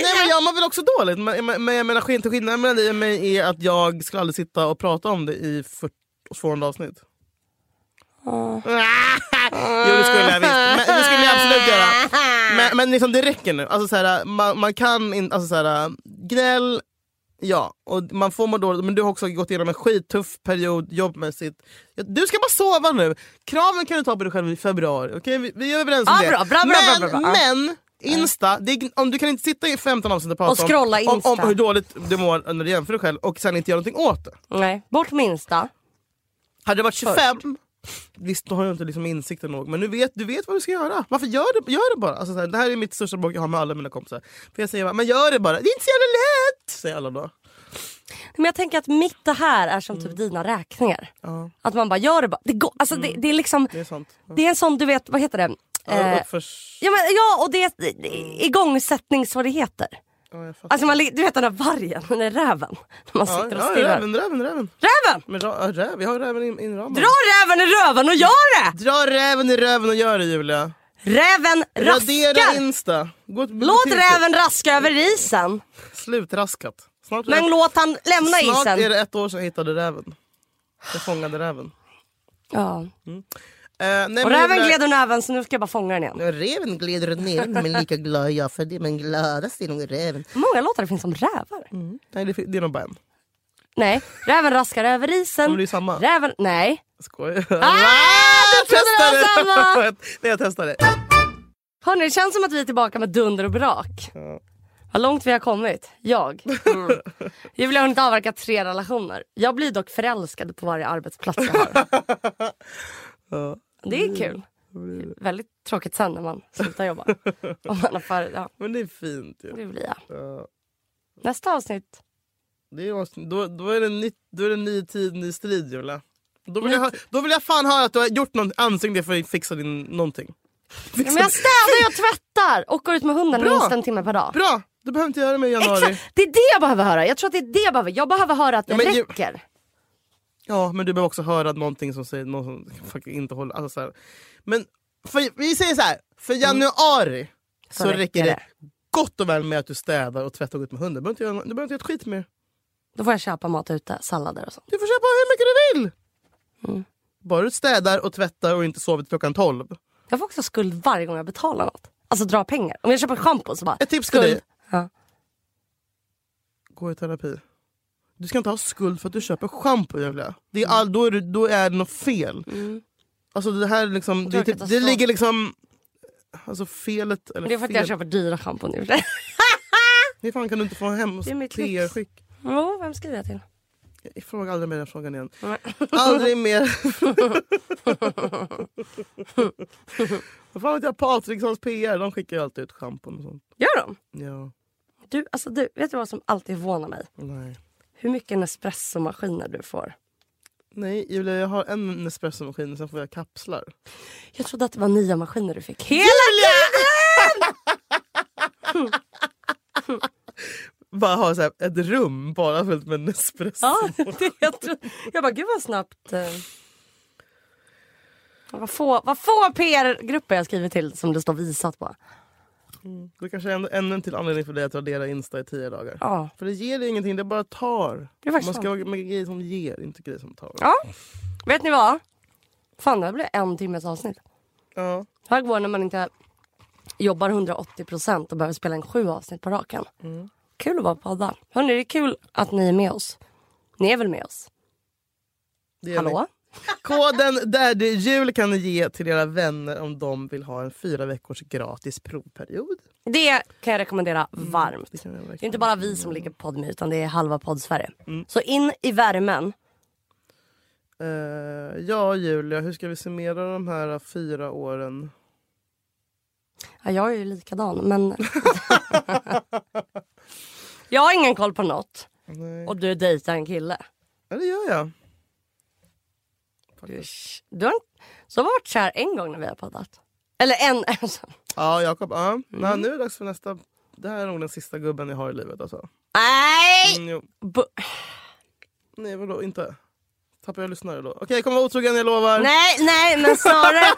Nej men jag mår väl också dåligt. Men, men, men jag menar skill- till skillnaden mellan dig och mig är att jag skulle aldrig sitta och prata om det i 40 och 200 avsnitt.
Ah.
jo det skulle jag visst. Men, det skulle jag absolut göra. Men, men liksom, det räcker nu. Alltså, så här, man, man kan inte... Alltså, så här, gnäll, ja. Och man får må dåligt. Men du har också gått igenom en skittuff period jobbmässigt. Ja, Du ska bara sova nu. Kraven kan du ta på dig själv i februari. Okej, Vi, vi är överens om
Ja,
det.
bra, bra, bra,
men,
bra, bra, bra.
men Insta, det är, om du kan inte sitta i 15 avsnitt och prata
Och scrolla
om, om,
Insta.
om hur dåligt du mår när du jämför dig själv och sen inte göra någonting åt det.
Nej, bort minsta.
Hade det varit 25, visst då har jag inte liksom insikten nog, men nu vet, du vet vad du ska göra. Varför gör det, gör det bara? Alltså, så här, det här är mitt största bråk jag har med alla mina kompisar. För jag säger bara, men gör det bara, det är inte så jävla lätt! Säger alla då.
Men jag tänker att mitt det här är som typ dina räkningar.
Mm. Ja,
Att man bara gör det bara. Det, går, alltså det, det är liksom,
det är sant. Ja.
det är en sån du vet, vad heter det? Eh,
Ja, uppförs...
ja, men, ja och det är det- det- igångsättningssvårigheter.
ja, jag fattar.
Alltså man, li- du vet den där vargen, den där räven. När man
Ja,
sitter och
ja,
stirrar.
räven, räven, räven.
Räven!
Men ra, ja, räv, vi har räven in- inramad.
Dra räven i röven och gör det!
Dra räven i röven och gör det Julia.
Räven
Radera
raskar!
Insta. Gå till
Låt
biblioteket.
räven raska över isen.
Slutraskat. Snart är
Men
det-
låt han lämna
Snart är
isen.
det ett år sedan jag hittade räven. Jag fångade räven.
Ja.
Eh, nej,
Och
men
räven
jag-
gled ur näven så nu ska jag bara fånga den igen.
Ja, Räven gled ner men lika glad jag för det. Men gladast är nog räven.
många låtar det finns om rävar?
Mm. Nej det, det är nog bara en.
Nej, räven raskar över
Men
isen.
det är samma.
Räven... Nej.
Skojar.
Ah, du trodde det var samma!
Nej jag testade.
Hörni, det känns som att vi är tillbaka med dunder och brak. Vad långt vi har kommit. Jag. Mm. Julia har inte avverkat tre relationer. Jag blir dock förälskad på varje arbetsplats jag har. Det är kul. Väldigt tråkigt sen när man slutar jobba. Om man har för, ja,
Men det är fint ju.
det blir jag.
Ja.
Nästa avsnitt.
Det är, också- då, då, är det nytt, då är det ny tid, ny strid Julia. Då vill, jag, ha- då vill jag fan höra att du har gjort något anständigt för att fixa din någonting.
Ja, men jag städar, jag tvättar och går ut med hunden
Bra.
minst en timme per dag.
Bra! Du behöver inte göra det med i januari.
Exakt. Det är det jag behöver höra. Jag tror att det är det jag behöver. Jag behöver höra att det
Ja, men ju-
räcker.
Ja, men du behöver också höra någonting som säger någon som fucking inte håller... Alltså, så här. Men för, vi säger så här, för januari så,
Mm.
räcker
räcker
det
det.
gott och väl med att du städar och tvättar och går ut med hunden. Du behöver inte göra, du behöver inte göra ett skit mer.
Då får jag köpa mat ute, sallader och sånt.
Du får köpa hur mycket du vill!
Mm.
Bara du städar och tvättar och inte sover till klockan 12.
Jag får också skuld varje gång jag betalar något. Alltså dra pengar. Om jag köper schampo så bara...
Ett tips till
skuld.
dig.
Ja.
Gå i terapi. Du ska inte ha skuld för att du köper schampo Julia. Det är
Mm.
all, då, är du, då är det något fel. Alltså det här är liksom,
Jag
det, är
tror
typ, det
katastrof.
ligger liksom... Alltså felet... Eller
Det är för att
fel.
jag köper dyra schampon nu.
Hur fan kan du inte få hem
Det är mitt lyx.
PR-skick?
Jo, vem skriver jag till?
Jag frågar aldrig mer den frågan igen.
Nej.
Aldrig mer. Vad fan vet jag? Patrikssons PR, de skickar ju alltid ut schampon och sånt.
Gör de?
Ja,
Du, alltså du, vet du vad som alltid förvånar mig?
nej.
Hur mycket Nespresso-maskiner du får.
Nej, Julia, jag har en Nespresso-maskin och sen får jag kapslar.
Jag trodde att det var nya maskiner du fick. Hela
Bara ha så här ett rum bara fullt med Nespresso.
Ja, det, jag, tror, jag bara, gud vad snabbt. Eh. Vad få, vad få PR-grupper jag skrivit till som det står visat på.
Det kanske är en- ännu en till anledning för dig att radera Insta i tio dagar.
Ja,
För det ger dig ingenting, det bara tar.
det är
Man
faktiskt
ska
sant.
ha med grejer som ger, inte grejer som tar.
Ja, vet ni vad? Fan, det här blev en timmes avsnitt.
Ja.
Här går när man inte jobbar 180 procent och behöver spela in sju avsnitt på raken.
Mm.
Kul att vara på podda. Hörni, det är kul att ni är med oss. Ni är väl med oss?
Det är
Hallå?
Koden där det är jul kan ni ge till era vänner om de vill ha en fyra veckors gratis provperiod.
Det kan jag rekommendera varmt.
Det kan jag
Det är
verkligen.
inte bara vi som ligger på podd med, utan det är halva poddsverige.
Mm.
Så in i värmen.
Eh, ja, Julia, hur ska vi summera de här fyra åren?
Ja, jag är ju likadan, men... jag har ingen koll på något.
Nej.
Och du dejtar en kille.
Ja, det gör jag.
Du, du har, inte- så har vi varit kär en gång när vi har poddat. Eller en...
Ja, Jakob. Ja.
Mm.
Nej, nu är det dags för nästa. Det här är nog den sista gubben jag har i livet. Alltså.
Nej!
Mm, jo.
Bu-
Nej, vadå? Inte? Tappar jag lyssnare då? Okej, jag kommer vara otrogen, jag lovar.
Nej, nej, men snarare...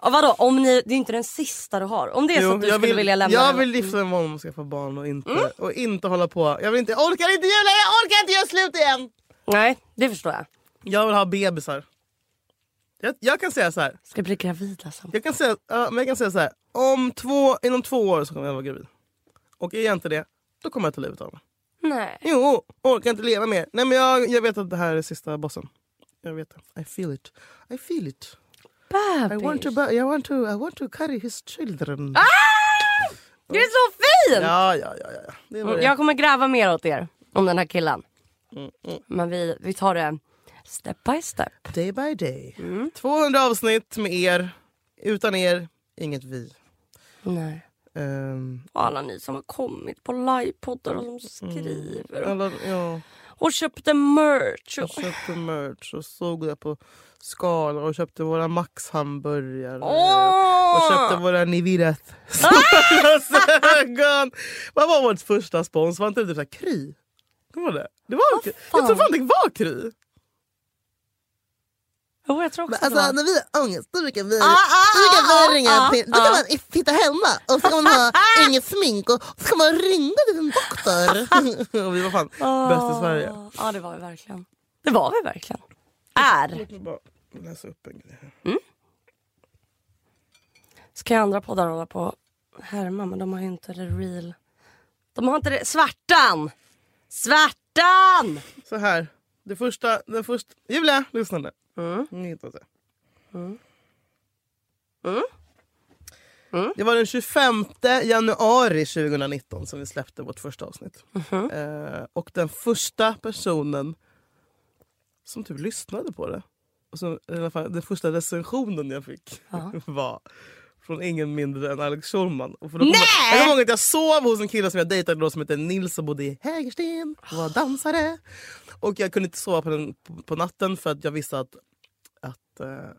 Och vadå, om ni, det är inte den sista du har. Om det är så
Jo,
att du skulle vilja lämna
jag
den. Mm.
vill gifta mig med honom och skaffa barn och inte, och inte hålla på. Jag, vill inte, jag orkar inte Julia, jag orkar inte göra slut igen!
Nej, det förstår jag.
Jag vill ha bebisar. Jag, jag kan säga så här.
Ska bli gravida sen.
Jag kan säga, ja, men jag kan säga så här. Om två, inom två år så kommer jag vara gravid. Och är jag inte det, då kommer jag ta livet av mig.
Nej.
Jo, orkar inte leva mer. Nej men jag, jag vet att det här är sista bossen. Jag vet det. I feel it. I feel it. I
Bebis.
want to, bu- I want to, I want to carry his children.
Ah! Du är så fin!
Ja, ja, ja. ja. ja. Det var det. Mm,
Jag kommer gräva mer åt er om den här killen. Men vi, vi tar det step by step.
Day by day. 200 Mm. avsnitt med er. Utan er, inget vi.
Nej.
Ehm,
Och alla ni som har kommit på livepoddar och som
Mm.
skriver och,
alla, ja.
och köpte merch.
Jag
Och,
köpte merch och såg det på skalor och köpte våra Max-hamburgare.
Åh!
Och köpte våra Nivirat solglasögon. Vad var vårt första spons? Var inte det typ så här, Kry? Kommer du ihåg det? det var, jag tror fan det var Kry.
Jo, jag tror också det
Alltså
var.
när vi har ångest då brukar vi,
ah,
då brukar
ah,
vi ringa
ah,
till, då kan man i- sitta hemma och så kan man ha inget smink och så kan man ringa till en doktor. Ah. och vi var fan bäst i Sverige.
Ja, det var vi verkligen. Det var vi verkligen. Är.
Jag bara läsa upp en grej. här.
Ska ju andra poddar hålla på och härma, men de har ju inte det real. De har inte det. Svärtan! Svärtan!
Så här, det första, den första, Julia lyssna nu. Ni hittar det. Det var den 25 januari 2019 som vi släppte vårt första avsnitt. Eh, och den första personen som typ lyssnade på det, och som, i alla fall, den första recensionen jag fick var från ingen mindre än Alex Schulman. Och för då kom Jag, jag kommer ihåg att jag sov hos en kille som jag dejtade då som hette Nils som bodde i Hägersten och var dansare. Och jag kunde inte sova på, den, på, på natten för att jag visste att, att eh,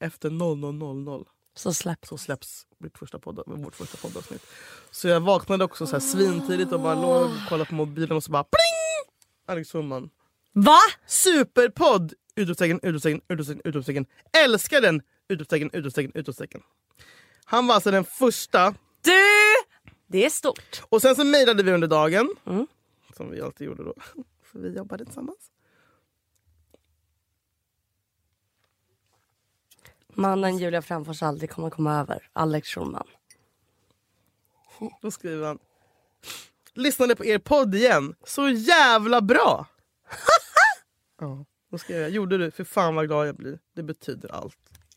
efter 00.00
Så släpps.
så släpps mitt första podd, vårt första poddavsnitt. Så jag vaknade också så här svintidigt och bara låg och kollade på mobilen och så bara pling! Alex Schulman.
Va?
Superpodd! Utropstecken, utropstecken, utropstecken, utropstecken. Älskar den! Utropstecken, utropstecken, utropstecken. Han var alltså den första.
Du! Det är stort.
Och sen så mejlade vi under dagen. Som vi alltid gjorde då. För vi jobbade tillsammans.
Mannen Julia Fränfors aldrig kommer komma över. Alex Schulman.
Då skriver han. Lyssnade på er podd igen. Så jävla bra! ja, då skrev jag. Gjorde du? För fan vad glad jag blir. Det betyder allt.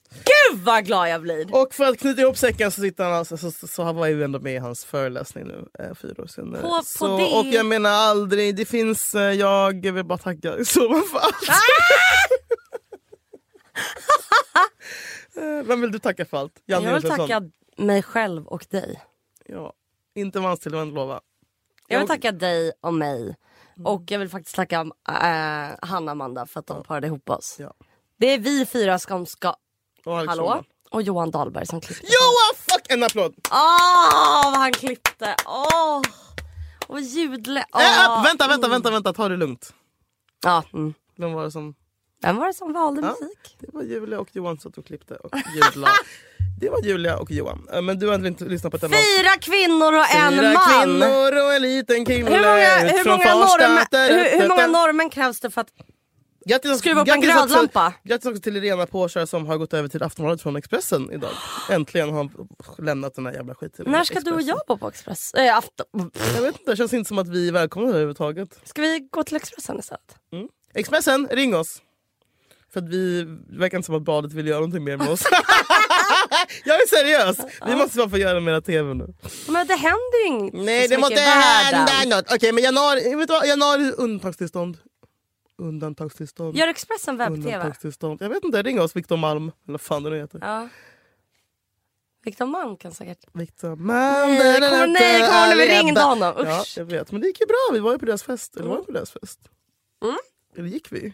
Gud vad glad jag blir!
Och för att knyta ihop säcken så, sitter han alltså, så, så, så han var ju ändå med i hans föreläsning nu eh, fyra år senare.
På- på
så,
det-
Och jag menar aldrig, det finns, eh, jag vill bara tacka så för allt. Eh, Vem vill du tacka för allt? Janne
Jag vill
Josefsson.
tacka mig själv och dig.
Ja, inte Vanstillvänd lova.
Jag vill
Och-
tacka dig och mig. Och jag vill faktiskt tacka äh, Hanna och Amanda för att de parade ihop oss.
Ja.
Det är vi fyra som ska...
Och Alex
Hallå?
Schulman.
Och Johan Dahlberg som klippte.
Joa, fuck en applåd!
Åh, vad han klippte! Åh! Och ljudle... Åh.
Äh, upp, vänta, vänta, vänta, vänta, ta det lugnt.
Ja, mm.
Vem var det som...
Vem var det som valde musik?
Det var Julia och Johan som tog klippte och ljudla. det var Julia och Johan. Eh, Men du har ändå inte lyssnat på ett enda avsnitt.
Fyra kvinnor och en
Fyra
man!
kvinnor och en liten kille
Hur många, hur,
från
många
Farsta.
norrmän, hur, hur många norrmän krävs det för att...
Grattis-
skruva upp en
grattis också-
glödlampa?
Grattis också till Irena Påkär som har gått över till Aftonbladet från Expressen idag. Äntligen har hon lämnat den här jävla skiten.
När ska du och
Expressen.
jag bo på Express? Äh, afton...
Jag vet inte, det känns inte som att vi är välkomna överhuvudtaget.
Ska vi gå till Expressen istället?
Expressen, ring oss! För att vi det verkar inte som att bladet vill göra någonting mer med oss. jag är seriös! Vi måste bara få göra mera TV nu.
Men det händer ju inget
Nej
så
det måste
mycket i världen.
hända något. Okej men januari, vet du vad? januari är undantagstillstånd. Undantagstillstånd.
Gör Expressen webb-tv?
Undantagstillstånd. Jag vet inte, ring oss Victor Malm. Eller vad fan det nu heter.
Ja. Viktor Malm kan säkert...
Victor Malm.
Nej, kommer- nej, kommer när vi ringde honom. Usch. Mm.
Ja, jag vet. Men det gick ju bra. Vi var ju på deras fest. Eller var vi på deras fest? Eller gick vi?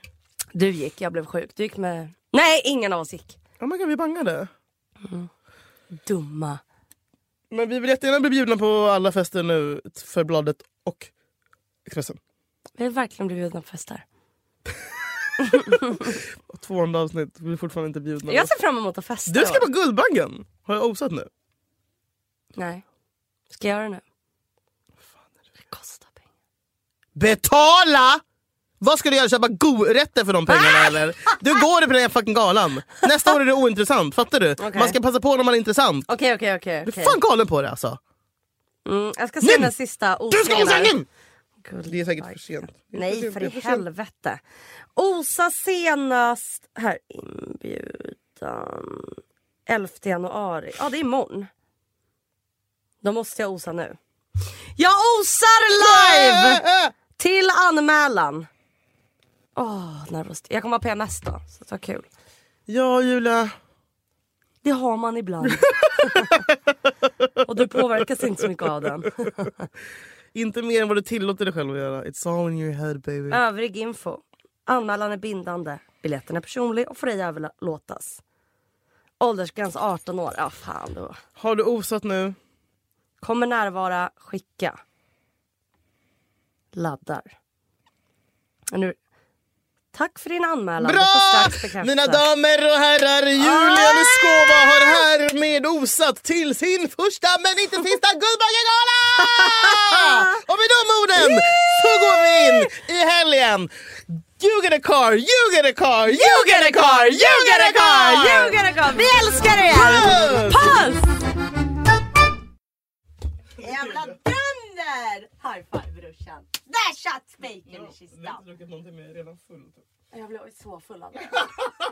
Du gick, jag blev sjuk. Du gick med... Nej, ingen av oss gick.
Ja men gud, vi bangade.
Dumma.
Men vi vill jättegärna bli bjudna på alla fester nu för Bladet och Expressen.
Vi har verkligen blivit bjudna på fester.
Och 200 avsnitt, vi är fortfarande inte bjudna.
Jag ser fram emot att festa.
Du ska
i år.
på Guldbaggen! Har jag osat nu?
Nej. Ska jag göra det nu? Det kostar pengar.
Betala! Vad ska du göra? Köpa go-rätter för de pengarna eller? Du går på den här fucking galan. Nästa år är det ointressant, fattar du? Man ska passa på när man är intressant.
Okej, okej, okej.
Du
okej.
är fan galen på det alltså.
Mm, jag ska se den sista
Du ska
osningen
osa
här.
igen!
Guld-
Det är säkert för sent. Det är för
Nej,
sent,
för
det
i
är för sent.
helvete. Osa senast... Här, inbjudan... 11 januari. Ja, det är imorgon. Då måste jag osa nu. Jag osar live! Till anmälan. Åh, nervöst. Jag kommer ha PMS då, så det var kul.
Ja Julia,
Det har man ibland. Och du påverkas inte så mycket av den.
inte mer än vad du tillåter dig själv att göra. It's all in your head baby.
Övrig info. Anmälan är bindande. Biljetten är personlig och får ej överlåtas. Åldersgräns 18 år. Ja, fan då.
Har du osat nu?
Kommer närvara. Skicka. Laddar. Men Nu
Tack för din anmälan. Du får
Bra!
strax bekräfta.
Mina damer och herrar, Julia Luskova har härmed osat till sin första men inte sista Guldbaggegala! Och med de orden så går vi in i helgen. You get a car, you get a car, you get a car, you get a car!
You gotta go. Vi älskar er!
Puss!
Puss!
Jävla dunder! High five brorsan. Där satt spiken i kistan. Jag blev så full av det.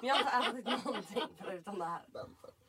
Men jag har inte ätit någonting förutom det här.